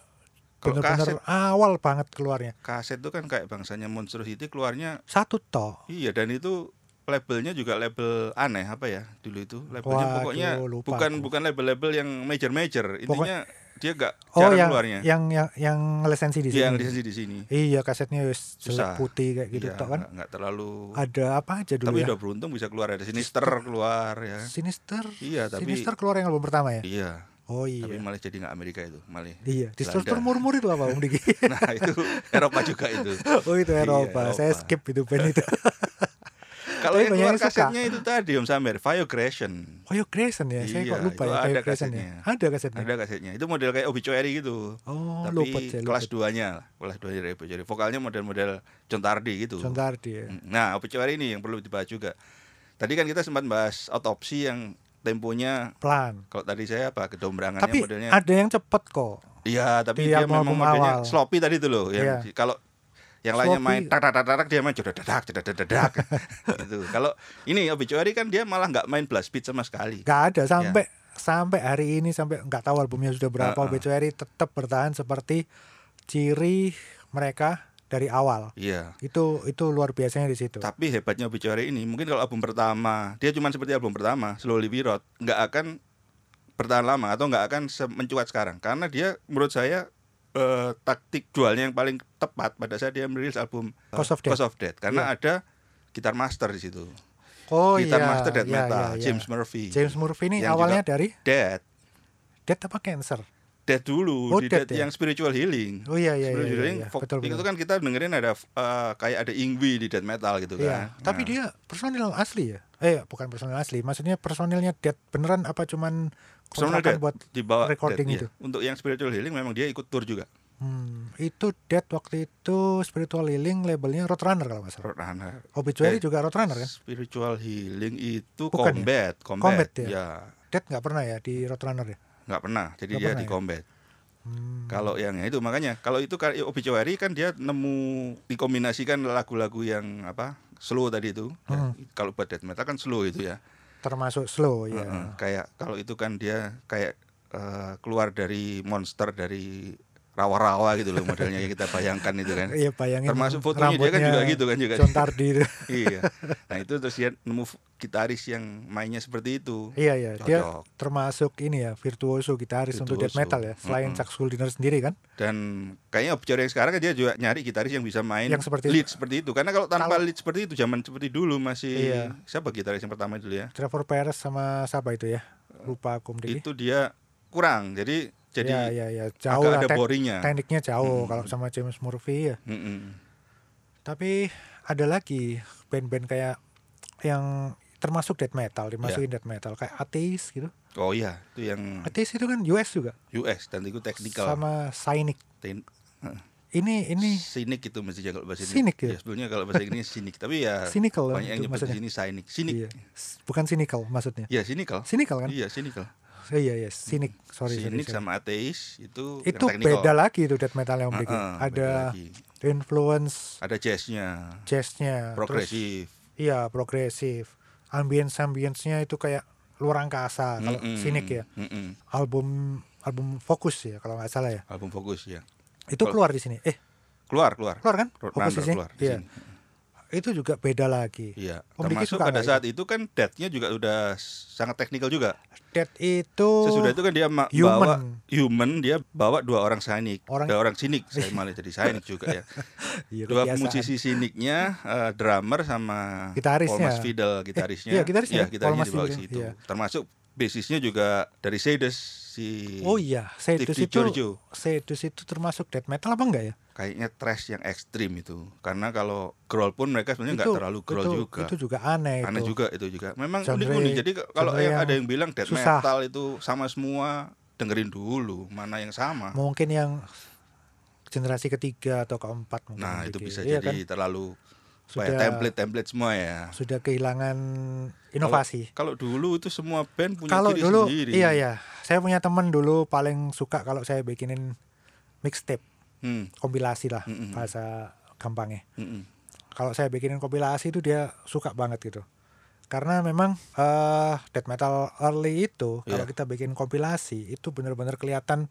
Kalau
bener-bener awal banget keluarnya.
kaset itu kan kayak bangsanya Monstrosity keluarnya
Satu toh.
iya dan itu labelnya juga label aneh apa ya dulu itu labelnya
Waduh,
pokoknya
lupa
bukan
aku.
bukan label-label yang major major intinya dia gak
Oh
jarang
yang,
keluarnya
yang yang yang lisensi di
Iya, yang
sini.
lisensi di sini
Iya, kasetnya wis
Susah.
jelek putih kayak gitu
Iya,
toh kan.
nggak- nggak terlalu
Ada apa aja dulu
tapi
ya?
udah beruntung bisa keluar ada Sinister keluar ya
Sinister.
Iya, tapi-
Sinister keluar yang album pertama ya?
iya
Oh
tapi
iya.
malah jadi nggak Amerika itu malah
Iya, Distortor
Belanda.
Murmur itu apa Om Diki?
nah itu Eropa juga itu
oh itu
Iya,
Eropa. Saya
Eropa.
skip itu band itu.
kalau
Tapi
yang keluar
banyak yang suka.
kasetnya itu tadi Om Samir Fire Creation
Oh yo Grayson ya, saya
Iya,
kok lupa ya
itu ada
kayak Grayson
kasetnya.
ya. Ada kasetnya.
ada kasetnya itu model kayak obituary gitu
Oh,
tapi
lupa saya,
kelas
lupa.
duanya lah kelas dua dari obituary vokalnya model-model John Tardi gitu
John Tardy ya.
nah obituary ini yang perlu dibahas juga tadi kan kita sempat bahas otopsi yang temponya
Pelan.
kalau tadi saya apa kedombrangannya
Tapi
modelnya
ada yang cepet kok.
iya
di
tapi dia
album
memang
album
modelnya
awal.
sloppy tadi tuh loh yang
Iya.
kalau yang lainnya
Sloppy.
main tak tak tak tak tak, dia main jodoh dadak jodoh dadak gitu kalau ini obituary kan dia malah nggak main blast beat sama sekali
Gak ada sampai sampai hari ini sampai nggak tahu albumnya sudah berapa
Ah, ah.
obituary tetap bertahan seperti ciri mereka dari awal.
iya
Itu itu luar biasanya di situ.
Tapi hebatnya Obituary ini mungkin kalau album pertama dia cuma seperti album pertama Slowly We Rot nggak akan bertahan lama atau nggak akan se- mencuat sekarang karena dia menurut saya eh, taktik dualnya yang paling tepat pada saat dia merilis album eh,
Cause of Death. Iya.
karena ada gitar master di situ
Oh
gitar
iya.
master death
iya,
metal
iya, iya.
James Murphy
James Murphy ini
Yang
awalnya dari
Dead
Death apa Cancer?
Dead dulu
Oh,
di
Dead
Dead,
ya?
yang spiritual healing
Oh iya iya iya.
Spiritual
iya,
healing
iya.
fok-
Betul
itu
betul.
kan kita dengerin ada eh, kayak ada Ingwi di death metal gitu
Iya,
kan
tapi
Nah,
dia personil asli ya? Eh bukan personil asli, maksudnya personilnya Death beneran apa cuman
Personal
kontrakan
Death
buat
dibawa
recording gitu. itu.
Dead, iya. untuk yang spiritual healing memang dia ikut tour juga
Hmm, itu Death waktu itu spiritual healing labelnya Roadrunner kalau nggak salah.
Roadrunner.
Obituary
Eh,
juga Roadrunner kan?
Spiritual healing itu
Bukan ya?
combat, combat,
Combat ya?
ya.
Death nggak pernah ya di Roadrunner ya?
nggak pernah. Jadi
Nggak
dia
pernah
di
ya?
combat.
Hmm,
Kalau yang itu makanya kalau itu kan obituary kan dia nemu dikombinasikan lagu-lagu yang apa? slow tadi itu.
Hmm.
Ya, Kalau buat death metal kan slow itu ya.
termasuk slow ya.
Heeh. Kayak kalau itu kan dia kayak eh, keluar dari monster dari rawa-rawa gitu loh modelnya yang kita bayangkan itu kan.
Iya bayangin.
Termasuk fotonya dia kan
rambutnya
juga gitu kan juga.
John Tardy.
iya. Nah itu terus dia nemu f- gitaris yang mainnya seperti itu.
iya iya, dia
Cocok.
termasuk ini ya virtuoso gitaris untuk death
Virtuoso.
metal ya. Selain
Mm-mm.
Chuck Schuldiner sendiri kan.
Dan kayaknya obscure yang sekarang kan dia juga nyari gitaris yang bisa main
Yang seperti-
lead seperti itu. Karena kalau tanpa
Kalau-
lead seperti itu zaman seperti dulu masih
Iya.
siapa gitaris yang pertama dulu ya?
Trevor Perez sama siapa itu ya? Lupa aku mendiki.
Itu dia kurang. Jadi
ya,
jadi
ya, ya. jauh
agak
lah
ada
tek-
boringnya.
tekniknya jauh
Mm.
kalau sama James Murphy ya.
Mm-mm.
Tapi ada lagi band-band kayak yang termasuk death metal, dimasukin
Ya.
death metal kayak Atheist gitu.
Oh iya, itu yang
Atheist itu kan US juga
US dan itu technical.
sama Cynic.
Ten-
Ini ini
sinik itu mesti kalau bahasa Inggris. Iya,
Sinik ya?
sebelumnya kalau bahasa Inggris sinik, tapi ya
cynical lah
banyak yang
itu
nyebut di
maksudnya.
sini sinik. Sinik.
Iya. S- Bukan cynical maksudnya.
Ya sinikal.
Cynical kan?
Iya, sinikal.
Eh, Iya, iya, cynic. Sorry, sorry,
sinik
sorry.
sama ateis itu
Itu
yang technical.
beda lagi itu death metal yang
Heeh,
berikut.
beda
ada
lagi.
influence
ada jazznya,
jazznya, terus
progresif.
iya progresif. Ambience ambience-nya itu kayak luar angkasa kalau
Mm-mm,
cynic ya.
mm-mm.
Album album fokus ya kalau nggak salah ya.
Album fokus ya.
Itu
Kalau-
keluar di sini. Eh,
Keluar, keluar.
keluar kan?
Road
Fokus
Runner
di sini.
keluar di
Iya.
sini.
Itu juga beda lagi.
Iya.
Om Diki
Termasuk
suka nggak
pada saat itu kan death-nya juga udah sangat teknikal juga.
Death itu
Sesudah itu kan dia ma-
Oh, human.
bawa human, dia bawa dua orang sinik,
Orang-
dua orang sinik, saya malah jadi sinik juga ya.
Iya,
Dua
kebiasaan.
musisi siniknya, eh, drummer sama
Gitarisnya.
Paul Masvidal gitarisnya.
Eh, iya, gitarisnya.
Iya,
Paul
gitarisnya dibawa ke
Masvidal,
situ.
iya.
Termasuk basisnya juga dari Sedes si
Oh iya, Sedus
Steve
itu
DiGiorgio.
Sedus itu termasuk death metal apa enggak ya?
kayaknya trash yang ekstrim itu. Karena kalau growl pun mereka sebenarnya nggak
Itu-
terlalu growl
itu-
juga.
Itu juga aneh
Aneh
itu.
juga itu juga. Memang
Genre-
unik-unik. Jadi kalau
genre
yang
yang
ada yang bilang death
susah.
metal itu sama semua, dengerin dulu mana yang sama.
Mungkin yang generasi ketiga atau keempat mungkin.
Nah itu
Diki.
bisa
Iya
jadi
kan?
terlalu apa ya,
sudah
template-template semua ya.
sudah kehilangan inovasi.
Kalau dulu itu semua band punya
Kalau
ciri
dulu
sendiri.
iya ya, saya punya temen dulu paling suka kalau saya bikinin mixtape,
Hmm,
kompilasi lah
Mm-mm.
bahasa gampangnya.
mm-mm.
Kalau saya bikinin kompilasi itu dia suka banget gitu. Karena memang eh death metal early itu kalau
Iya.
kita bikin kompilasi itu benar-benar kelihatan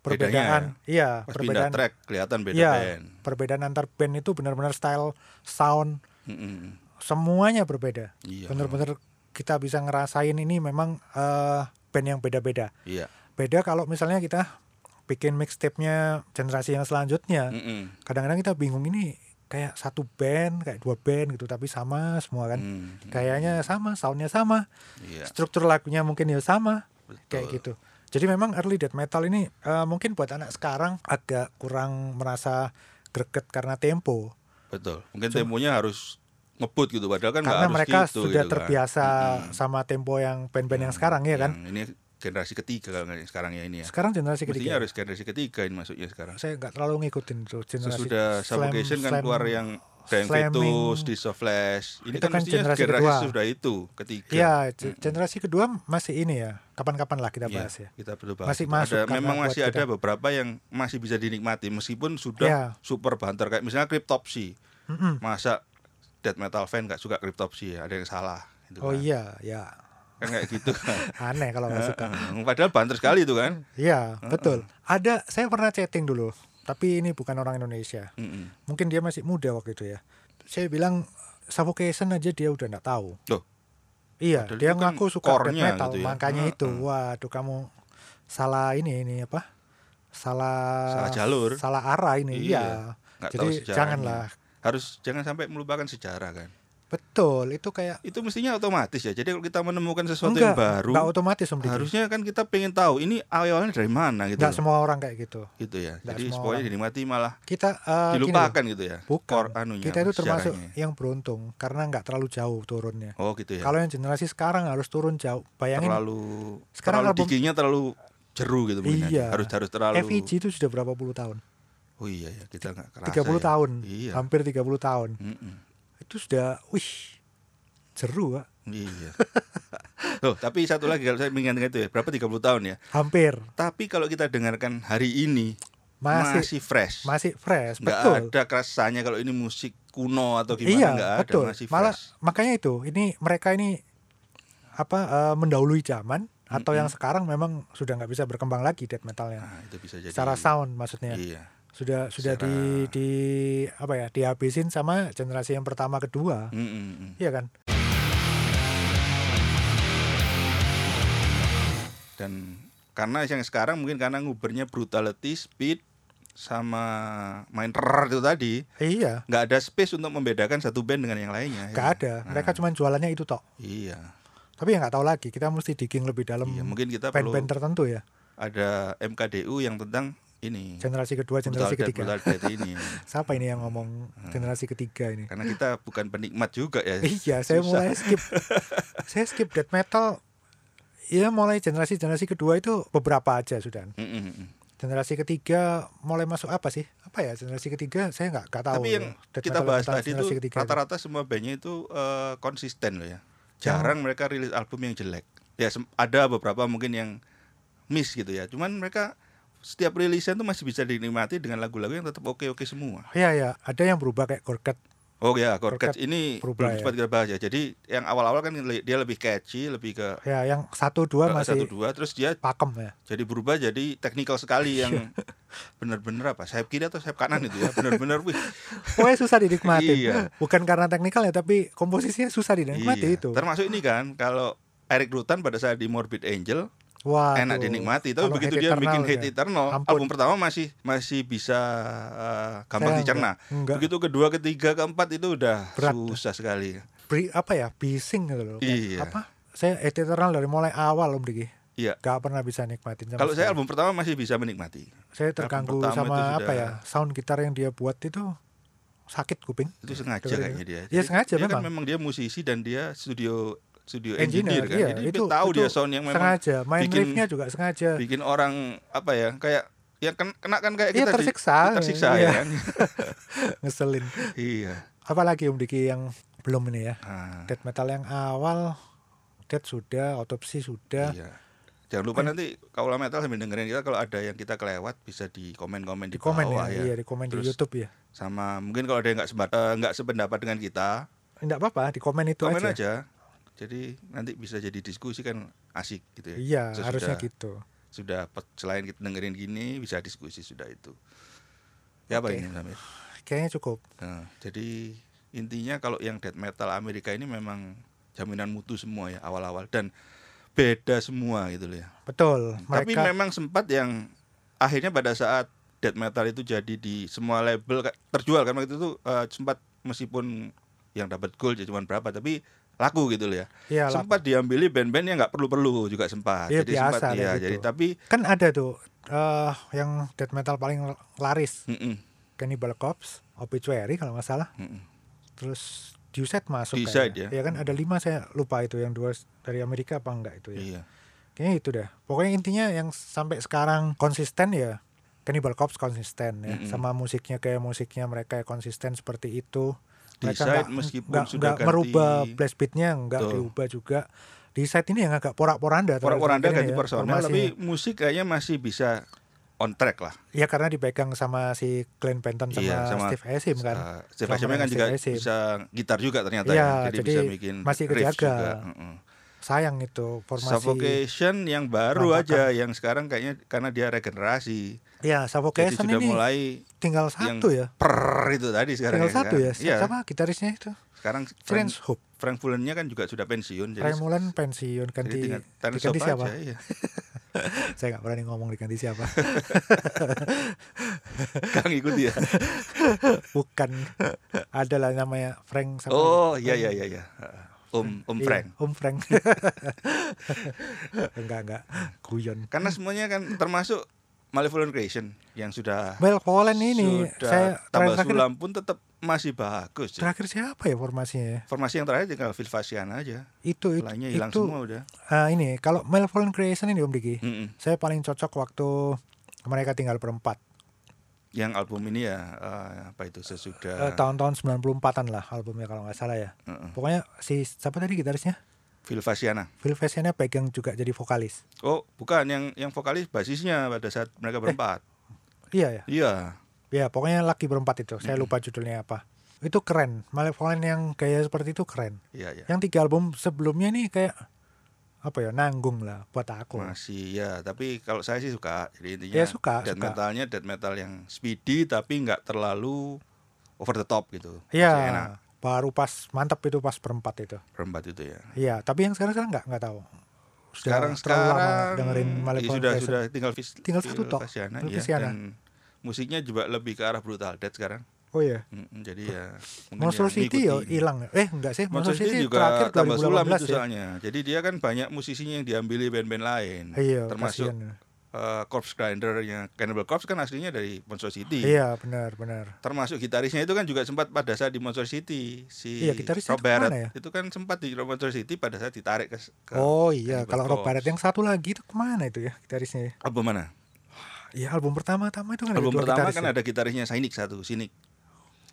Bedanya ya?
perbedaan. Iya,
Pas pindah
perbedaan.
track kelihatan beda
Iya,
band.
perbedaan antar band itu benar-benar style, sound,
Mm-mm.
semuanya berbeda.
Hmm, Iya.
Benar-benar kita bisa ngerasain ini memang eh band yang beda-beda.
Iya.
Beda kalau misalnya kita bikin mixtape-nya generasi yang selanjutnya,
Mm-mm.
kadang-kadang kita bingung ini kayak satu band, kayak dua band gitu tapi sama semua kan.
Mm,
Kayaknya sama, soundnya sama,
Iya.
struktur lagunya mungkin ya sama,
Betul.
kayak gitu. Jadi memang early death metal ini eh, mungkin buat anak sekarang agak kurang merasa greget karena tempo,
Betul. Mungkin temponya harus ngebut gitu padahal kan nggak
karena
harus
mereka
gitu,
sudah
gitu kan.
terbiasa
Mm-mm.
sama tempo yang band-band yang sekarang ya kan.
Yang ini generasi ketiga kalau nggak- sekarang ya ini ya.
Sekarang generasi
Mestinya
ketiga.
harus generasi ketiga ini masuknya sekarang.
Saya nggak terlalu ngikutin tuh generasi.
Sesudah
slam-
Suffocation kan
slam-
keluar yang Dying
slamming.
Fetus, Disc of Flesh. Ini
Itu
kan,
kan
mestinya generasi,
generasi kedua.
sudah itu ketiga.
Iya, ge- generasi kedua masih ini ya. Kapan-kapan lah kita
Iya,
bahas ya.
Kita perlu bahas.
Masih
itu.
masuk
ada,
karena
memang
buat
masih
kita.
ada beberapa yang masih bisa dinikmati meskipun sudah
Iya.
super banter kayak misalnya Cryptopsy.
Mm-mm.
Masa death metal fan nggak suka Cryptopsy ya? Ada yang salah. Gitu
Oh
kan.
iya, ya.
Kan kayak gitu kan.
Aneh kalau nggak suka.
Heeh. Padahal banter sekali itu kan.
Iya, betul. Ada saya pernah chatting dulu, tapi ini bukan orang Indonesia.
Mm-mm.
Mungkin dia masih muda waktu itu ya. Saya bilang suffocation aja dia udah nggak tahu.
Loh,
Iya,
Padahal
dia
itu kan
ngaku suka death
core-nya
metal,
gitu ya.
makanya
Heeh.
itu. Waduh, kamu salah ini ini apa? Salah
Salah jalur.
Salah arah ini.
Iya,
Iya.
nggak tahu
Jadi
sejarahnya.
janganlah.
harus jangan sampai melupakan sejarah kan.
Betul, itu kayak
Itu mestinya otomatis ya. Jadi kalau kita menemukan sesuatu yang
enggak,
baru,
enggak otomatis Om Diki.
harusnya kan kita pengen tahu ini awalnya dari mana gitu.
Enggak
loh.
semua orang kayak gitu.
gitu ya.
nggak
Jadi
semua
pokoknya
orang.
dinikmati malah
Kita eh, gini loh.
dilupakan gitu ya.
Bukan.
Core anunya,
kita itu termasuk
sejarahnya.
yang beruntung karena nggak terlalu jauh turunnya.
Oh gitu ya.
Kalau yang generasi sekarang harus turun jauh. Bayangin
terlalu
Sekarang
terlalu
album-
diginya terlalu jeru gitu mungkin
Iya.
aja. harus harus terlalu
FIG itu sudah berapa puluh tahun?
oh iya ya kita nggak
30
kerasa ya.
tahun.
iya
Hampir 30 tahun.
Mm-mm.
Itu sudah wih. Jeru, Pak.
iya Loh, tapi satu lagi kalau saya mengingat itu ya berapa 30 tahun ya
Hampir.
tapi kalau kita dengarkan hari ini masih,
Masih masih,
fresh
fresh,
nggak
betul.
ada kerasanya kalau ini musik kuno atau gimana
iya,
nggak ada
betul.
masih
Malah
fresh
makanya itu, ini mereka ini apa eh, mendahului zaman atau yang sekarang memang sudah nggak bisa berkembang lagi death metalnya
Nah, itu bisa jadi.
secara sound maksudnya
Iya.
sudah sudah di
secara-
di apa ya dihabisin sama generasi yang pertama kedua
Mm, mm, mm.
iya kan
Dan karena yang sekarang mungkin karena ngubernya brutality, speed sama main rrrr itu tadi
iya
nggak ada space untuk membedakan satu band dengan yang lainnya.
nggak
ya.
ada
Nah,
mereka cuma jualannya itu tok
Iya.
tapi ya nggak tahu lagi kita mesti digging lebih dalam
Iya, mungkin kita perlu Mm.
band-band tertentu ya
ada MKDU yang tentang ini.
generasi kedua
Brutal
generasi
Death,
ketiga
Brutal Death ini.
siapa ini
Mm.
yang ngomong generasi ketiga ini
Karena kita bukan penikmat juga ya.
iya saya
Susah.
mulai skip saya skip death metal ya mulai generasi generasi kedua itu beberapa aja sudah
Mm, mm, mm.
generasi ketiga mulai masuk apa sih apa ya generasi ketiga saya nggak nggak tahu ya.
Tapi yang
Death
kita
metal-
bahas
metal
tadi itu
generasi ketiga itu.
rata-rata semua bandnya itu eh, konsisten loh ya. Jarang mereka rilis album yang jelek. Ya sem- ada beberapa mungkin yang miss gitu ya. Cuman mereka setiap rilisan tuh masih bisa dinikmati dengan lagu-lagu yang tetap oke-oke semua.
Iya ya, ada yang berubah kayak Gorkat.
Oh ya,
Gorkat
Gorkat ini
berubah
belum
ya.
sempat kita bahas ya. Jadi yang awal-awal kan le- dia lebih catchy, lebih ke
Ya, yang satu dua
ke
masih
satu dua, terus dia
pakem ya.
jadi berubah jadi teknikal sekali yang bener-bener apa? Sayap kiri atau sayap kanan itu ya, bener-bener wih.
Pokoknya susah dinikmati.
Iya.
Bukan karena teknikalnya tapi komposisinya susah dinikmati
Iya,
itu.
Termasuk ini kan kalau Eric Rutan pada saat di Morbid Angel
Wah. tuh.
enak dinikmati, tapi
Kalau Hate
begitu dia
Eternal
bikin Hate
ya.
Eternal,
Ampun.
album pertama masih masih bisa eh, gampang
Saya
dicerna.
enggak- enggak.
Begitu kedua, ketiga, keempat itu udah
Berat.
susah sekali.
Beri- apa ya? Bising gitu loh. Kayak
Iya.
Apa? Saya Hate Eternal dari mulai awal Om Diki.
Iya.
Gak pernah bisa nikmatin sama
Kalau saya
sekali.
album pertama masih bisa menikmati.
saya
album
terganggu
pertama itu
sama
sudah-
apa ya? Sound gitar yang dia buat itu sakit kuping.
Itu sengaja
Dengerin.
kayaknya dia.
Iya,
Jadi
sengaja
dia
memang.
kan memang dia musisi dan dia studio studio
Engineer,
engineer, kan.
iya,
Jadi
itu,
dia tahu
itu
dia sound yang memang
sengaja main
bikin-
riffnya juga sengaja
bikin orang apa ya, kayak ya ken- kena kan kayak
Iya,
kita di-
tersiksa.
tersiksa
Iya.
ya kan.
ngeselin
iya.
apalagi Om Diki yang belum ini ya
Ah.
death metal yang awal death sudah autopsi sudah
Iya. Jangan lupa nanti kalau metal sambil dengerin kita kalau ada yang kita kelewat bisa di komen-komen
di
di,
komen
bawah
ya,
ya.
iya di komen di
Terus-
YouTube ya
Sama mungkin kalau ada yang nggak sebat- eh, nggak sependapat dengan kita,
enggak apa-apa di komen itu
komen
aja.
aja. Jadi nanti bisa jadi diskusi kan asik gitu ya.
iya
Sesudah-
harusnya gitu
Sudah pe- selain kita dengerin gini bisa diskusi sudah itu. Ya apa
Oke.
ini Samir?
kayaknya cukup
Nah, jadi intinya kalau yang death metal Amerika ini memang jaminan mutu semua ya awal-awal dan beda semua gitu loh ya.
betul
Tapi
mereka
memang sempat yang akhirnya pada saat death metal itu jadi di semua label ka- terjual karena itu tuh eh, sempat meskipun yang dapat gold ya cuman berapa tapi laku gitu loh ya.
ya lah.
sempat diambili band-band yang nggak perlu-perlu juga sempat.
Iya,
jadi
biasa
sempat
kayak
ya.
gitu.
Jadi tapi
kan ada tuh eh yang death metal paling laris
mm-mm,
Cannibal Corpse Obituary kalau nggak salah
mm-mm.
terus Duset masuk
Ducide
kayaknya.
ya.
kan ada lima saya lupa itu yang dua dari Amerika apa enggak itu ya
iya.
kayaknya itu dah pokoknya intinya yang sampai sekarang konsisten ya Cannibal Corpse konsisten ya
Mm-mm.
sama musiknya kayak musiknya mereka ya konsisten seperti itu mereka
Decide
nggak-
meskipun
nggak-
sudah
nggak
ganti-
merubah blast beatnya nggak
Betul.
diubah juga di side ini yang agak porak-poranda
Orang-orang
terakhir-terakhir
ganti
ini ya,
personel tapi
formasinya.
musik kayaknya masih bisa on track lah.
ya karena dipegang sama si Glenn Benton sama,
Iya, sama-
Steve Asim kan
Eh, Steve
Sama
Asimnya kan
Steve
juga
Asim.
bisa gitar juga ternyata
Iya,
ya. Jadi,
jadi
bisa bikin
masih
riff
kejaga.
juga. Mm-mm.
sayang itu formasi
Suffocation yang baru
Ramakan.
aja yang sekarang kayaknya karena dia regenerasi.
ya
Jadi
Suffocation
sudah
ini
mulai
tinggal
yang
satu ya
per itu tadi sekarang
tinggal satu ya
Iya.
sama gitarisnya itu
Sekarang Frank,
Terence Hope
Frank Fullennya kan juga sudah pensiun jadi
Frank Mulan pensiun
jadi
ganti
tinggal Terence
diganti
Hope
siapa
aja, iya.
saya nggak berani ngomong diganti siapa
Kang ikut dia.
bukan ada lah namanya Frank sama
oh, iya iya iya iya. Om Om
Iya,
Frank.
Om Frank enggak enggak guyon
Karena semuanya kan termasuk Malevolent Creation yang sudah
Melvolen ini
sudah
saya
tambah
terakhir
sulam pun tetap masih bagus. ya.
terakhir siapa ya formasinya ya?
Formasi yang terakhir tinggal Phil Fasciana aja.
itu itu,
Lainnya hilang
itu
semua udah.
ah, ini kalau Melvolen Creation ini Om Diki
Mm-mm.
saya paling cocok waktu mereka tinggal berempat
yang album ini ya eh, apa itu
Eh,
sesudah
tahun-tahun 94-an lah albumnya kalau nggak salah ya
Heeh.
pokoknya si siapa tadi gitarisnya
Phil Fasciana.
Phil Fessiana pegang juga jadi vokalis
Oh, bukan yang yang vokalis basisnya pada saat mereka berempat.
iya ya
Iya.
ya pokoknya laki berempat itu
Hmm.
saya lupa judulnya apa itu keren Malevolent yang gaya seperti itu keren
Iya, iya.
yang tiga album sebelumnya nih kayak apa ya nanggung lah buat aku.
Masih ya, tapi kalau saya sih suka. Jadi intinya
Ya, suka,
death
suka.
metalnya death metal yang speedy tapi nggak terlalu over the top gitu.
Iya.
Masih enak
Baru pas mantep itu pas perempat itu.
rembat itu ya.
Iya, tapi yang sekarang sekarang nggak nggak tahu. Sudah
Sekarang
terlalu lama
sekarang
dengerin
iya,
Malevolent
sudah
Crescent.
sudah tinggal vis,
Tinggal satu tok,
Vasiana,
Phil
iya.
Vasiana.
dan musiknya juga lebih ke arah brutal death sekarang.
Oh iya.
Mm, jadi ya mungkin
Monster
ya
City ya
ngikutin.
hilang. Eh enggak sih,
Monster City
terakhir
juga tambah sulam
2018 ya.
itu soalnya. Jadi dia kan banyak musisinya yang diambil band-band lain.
Iya,
termasuk
kasihan.
eh, Corpse Grindernya Cannibal Corpse kan aslinya dari Monster City.
Iya, benar, benar.
termasuk gitarisnya itu kan juga sempat pada saat di Monster City si
Iya, gitarisnya
Rob
itu kemana
Barrett
ya?
itu kan sempat di Monster City pada saat ditarik ke, ke
Oh iya,
Cannibal
kalau Rob
Corpse.
Barrett yang satu lagi itu kemana itu ya gitarisnya? ya?
album mana
Iya, album pertama-tama itu kan ada
album
dua
pertama
gitaris
kan
ya?
ada gitarisnya Sinik satu Sinik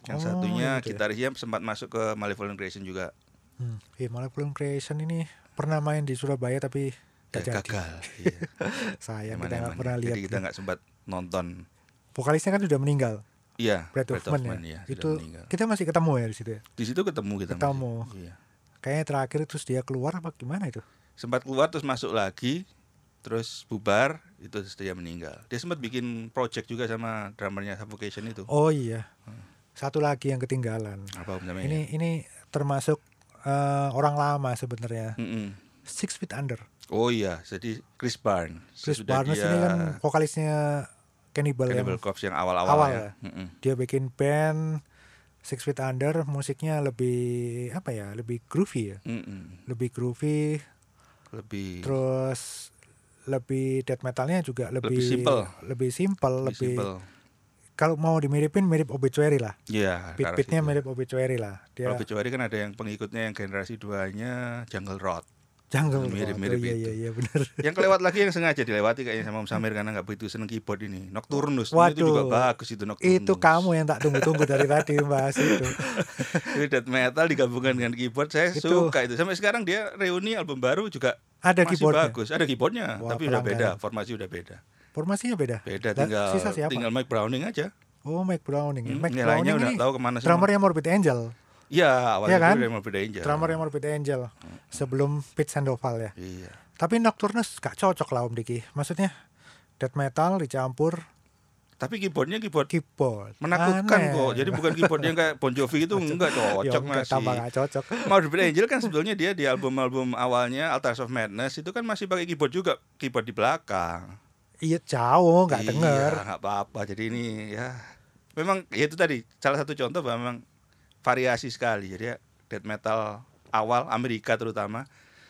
yang
Oh,
satunya
iya gitu ya.
gitarisnya sempat masuk ke Malevolent Creation juga
Hmm. Iya, Malevolent Creation ini pernah main di Surabaya tapi
Ya,
gak jadi.
gagal iya.
Sayang
Emang-
kita nggak
emang. ya.
pernah lihat.
jadi kita nggak sempat nonton
Vokalisnya kan sudah meninggal,
iya
Brad
Brad
Hoffman,
Hoffman,
ya.
sudah
Itu
meninggal.
kita masih ketemu ya di situ ya.
di situ ketemu kita masih.
Ketemu.
Iya.
Kayaknya terakhir terus dia keluar apa gimana itu?
sempat keluar terus masuk lagi terus bubar itu dia meninggal dia sempat bikin project juga sama drummernya Suffocation itu
Oh iya. Satu lagi yang ketinggalan.
apa namanya
Ini ini termasuk eh, orang lama sebenarnya.
Mm-mm.
Six Feet Under.
oh iya jadi Chris Barnes
Chris
Sesudah
Barnes
dia
ini kan vokalisnya Cannibal, yang
iya. Cannibal Corpse yang awal-awal
awal
ya,
ya.
Mm-mm.
dia bikin band Six Feet Under, musiknya lebih apa ya? Lebih groovy ya.
Mm-mm.
Lebih
Iya.
groovy,
lebih
terus lebih death metalnya juga lebih
Lebih simple.
lebih simple, lebih,
lebih simple
kalau mau dimiripin mirip Obituary lah.
ya
Beat beatnya mirip ya. Obituary lah. Dia
kalau kecuali kan ada yang pengikutnya yang generasi duanya Jungle Rot
jungle Oh,
mirip-mirip
iya, iya
itu.
iya benar.
yang kelewat lagi yang sengaja dilewati kayaknya sama Om Samir karena nggak begitu seneng keyboard ini Nocturnus itu juga
Waduh.
bagus itu Nocturnus
itu kamu yang tak tunggu-tunggu dari tadi bahas itu.
Jadi death metal digabungkan dengan keyboard saya
Itu.
suka itu. Sampai sekarang dia reuni album baru juga
Ada
masih
keyboardnya.
bagus. Ada keyboardnya,
Wah,
tapi udah beda,
pelanggaran.
formasi udah beda.
Formasinya beda.
Beda
Dan
tinggal
sisa siapa?
tinggal Mike Browning aja.
Oh, Mike Browning.
Hmm,
Mike
yang
Browning
lainnya udah
ini
tahu kemana semua.
drummer yang Morbid Angel.
Iya, awalnya
Iya kan?
itu udah mau bedain aja.
Drummer yang Morbid Angel sebelum Pete Sandoval ya.
Iya.
Tapi Nocturnus gak cocok lah Om Diki. Maksudnya death metal dicampur
Tapi keyboardnya keyboard
keyboard.
menakutkan
Aneh.
kok. Jadi bukan keyboard yang kayak Bon Jovi itu enggak
Ya,
cocok
enggak,
masih.
tambah gak cocok.
Morbid Angel kan sebetulnya dia di album-album awalnya Altars of Madness itu kan masih pakai keyboard juga, keyboard di belakang.
Iya jauh, nggak
Iya,
denger.
nggak apa-apa. Jadi ini ya memang ya itu tadi salah satu contoh bahwa memang variasi sekali. Jadi ya, death metal awal Amerika terutama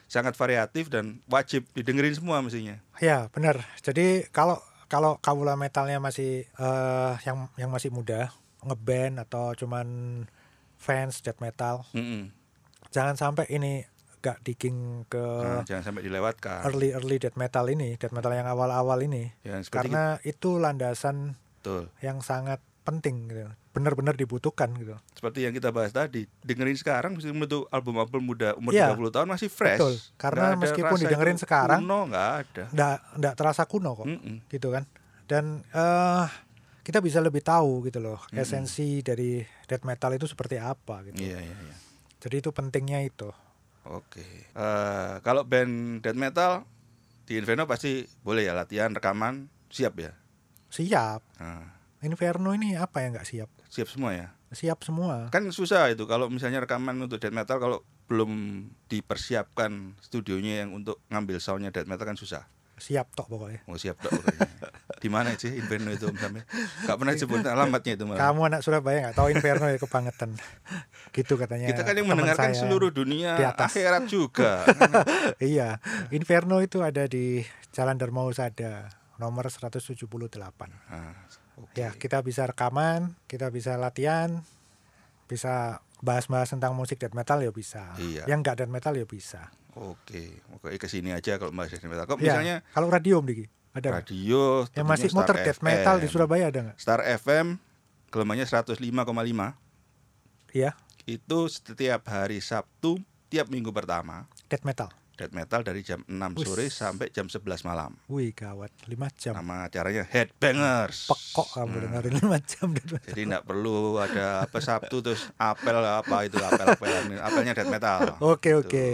sangat variatif dan wajib didengerin semua mestinya.
Ya benar. Jadi kalau kalau kawula metalnya masih eh, yang yang masih muda ngeband atau cuman fans death metal,
Mm-mm.
jangan sampai ini gak digging ke
Nah, jangan sampai dilewatkan.
early early death metal ini, death metal yang awal-awal ini,
Ya, seperti
karena itu landasan
betul.
yang sangat penting, gitu. benar-benar dibutuhkan gitu.
Seperti yang kita bahas tadi, dengerin sekarang mesti menurut album-album muda umur
Iya.
30 tahun masih fresh.
Betul. Karena
Nggak ada
meskipun
rasa
didengerin
itu
sekarang,
kuno nggak ada.
Nggak nggak terasa kuno kok.
Mm-mm.
gitu kan dan eh kita bisa lebih tahu gitu loh esensi dari death metal itu seperti apa gitu
Iya, iya, iya.
jadi itu pentingnya itu
Oke. Eh, kalau band death metal di Inferno pasti boleh ya latihan rekaman siap ya.
siap
Nah,
Inferno ini apa yang nggak siap
siap semua ya.
siap semua
Kan susah itu kalau misalnya rekaman untuk death metal kalau belum dipersiapkan studionya yang untuk ngambil soundnya death metal kan susah.
siap tok pokoknya
Mau siap dok. pokoknya. di mana sih Inferno itu Om Samir? Gak pernah disebut alamatnya itu malah.
kamu anak Surabaya nggak tahu Inferno ya kebangetan gitu katanya
Kita kan yang
teman
mendengarkan
saya.
seluruh dunia
Di atas.
akhirat juga.
iya Inferno itu ada di Jalan Darmo Sada nomor 178
Nah, oke.
ya kita bisa rekaman kita bisa latihan bisa bahas-bahas tentang musik death metal ya bisa
Iya.
yang nggak death metal ya bisa
Oke, oke ke sini aja kalau bahas death metal. Kok
Ya,
misalnya
kalau radio Om Diki ada nggak?
radio
yang
tentunya
masih
Star
muter death metal di
FM.
Surabaya ada nggak
Star FM gelombangnya 105,5
iya
itu setiap hari Sabtu tiap minggu pertama
death metal
death metal dari jam 6
Wih.
sore sampai jam 11 malam.
wih gawat 5 jam
Nama acaranya Headbangers.
pekok kamu
hmm.
dengerin 5 jam death metal
Jadi nggak perlu ada apa Sabtu terus apel Ah, apa itu apel apel apelnya death metal.
oke
Gitu.
oke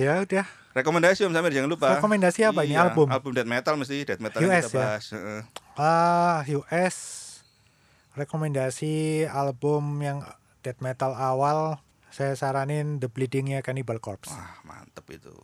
ya udah
Rekomendasi Om Samir jangan lupa. Iya,
Rekomendasi apa ini, album?
Album death metal mesti death metal
US
yang kita
ya?
bahas. Heeh.
Ah, US rekomendasi album yang death metal awal saya saranin The Bleeding-nya Cannibal Corpse.
Wah, mantep itu.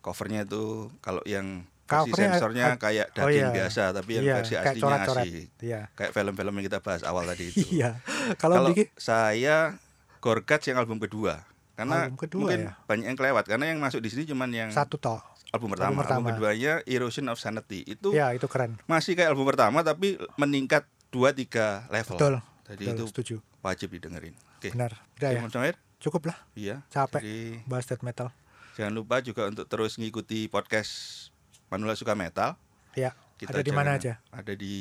Covernya itu kalau yang versi
Covernya-
sensornya
ah,
kayak
oh
daging
iya.
biasa, tapi yang
Iya,
versi
kayak
aslinya
coret-coret.
asli.
Iya.
Kayak film-film yang kita bahas awal tadi itu.
Iya. Kalau
Kalau
Diki
saya Gorgats yang album kedua. Karena
Album kedua
mungkin
ya?
banyak yang kelewat karena yang masuk di sini cuman yang
satu toh.
album pertama. Album,
pertama.
keduanya Erosion of Sanity. Itu
Ya, itu keren.
masih kayak album pertama tapi meningkat 2 3 level.
Betul.
Jadi
Betul,
itu
setuju.
wajib didengerin. Oke.
Benar. Udah ya.
Oke, Mas Noir?
Cukup lah
Iya.
Capek.
Jadi
bahas death metal.
jangan lupa juga untuk terus ngikuti podcast Manula Suka Metal.
Ya,
Kita
ada
Iya.
di mana
jangan-
aja?
Ada di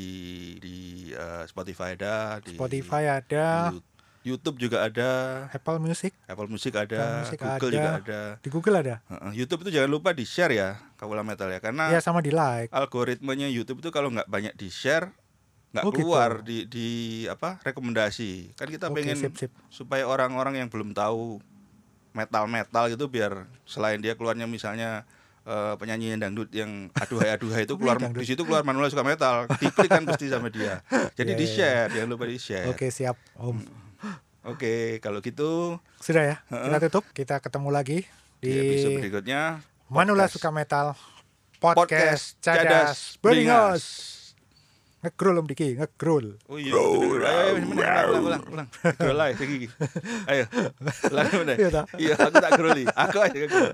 di eh, Spotify ada, di
Spotify ada,
Yu- YouTube juga ada,
Apple Music,
Apple Music ada,
Apple Music ada.
Google juga ada.
di Google ada.
Heeh, YouTube itu jangan lupa di-share ya, Kawula Metal ya. Karena
Ya, sama di like.
algoritmanya YouTube itu kalau nggak banyak di share nggak
Oh, gitu.
keluar di di apa rekomendasi kan kita
Oke,
pengen
sip, sip.
supaya orang-orang yang belum tahu metal metal gitu biar selain dia keluarnya misalnya eh, penyanyi yang dangdut yang aduhai aduhai itu keluar
Penyanyi dangdut.
di situ keluar manual suka metal diklik kan pasti sama dia jadi
Iya,
di
iya,
share jangan lupa di share oke
Oke, siap,
Hmm.
Om.
kalau gitu
Sudah ya, kita tutup. Kita ketemu lagi
di
di
episode berikutnya
Manula
podcast.
Suka Metal Podcast, Cadas
Beringas.
Beringas. Ngegrul Om Diki, ngegrul.
Oh iya, betul, betul. ayo, ayo, bener, bener, ulang, ulang, ulang, Grow live, lagi, lagi. ayo, ulang bener.
Iya, tak?
Iya, aku tak grow li. aku aja grow.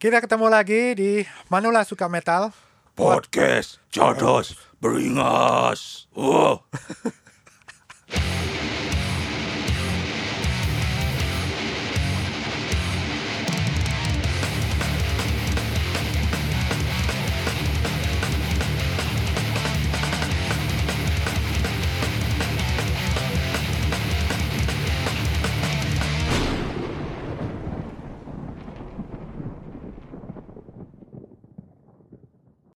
Kita ketemu lagi di Manula Suka Metal
Oh. Podcast, cadas, beringas, wow.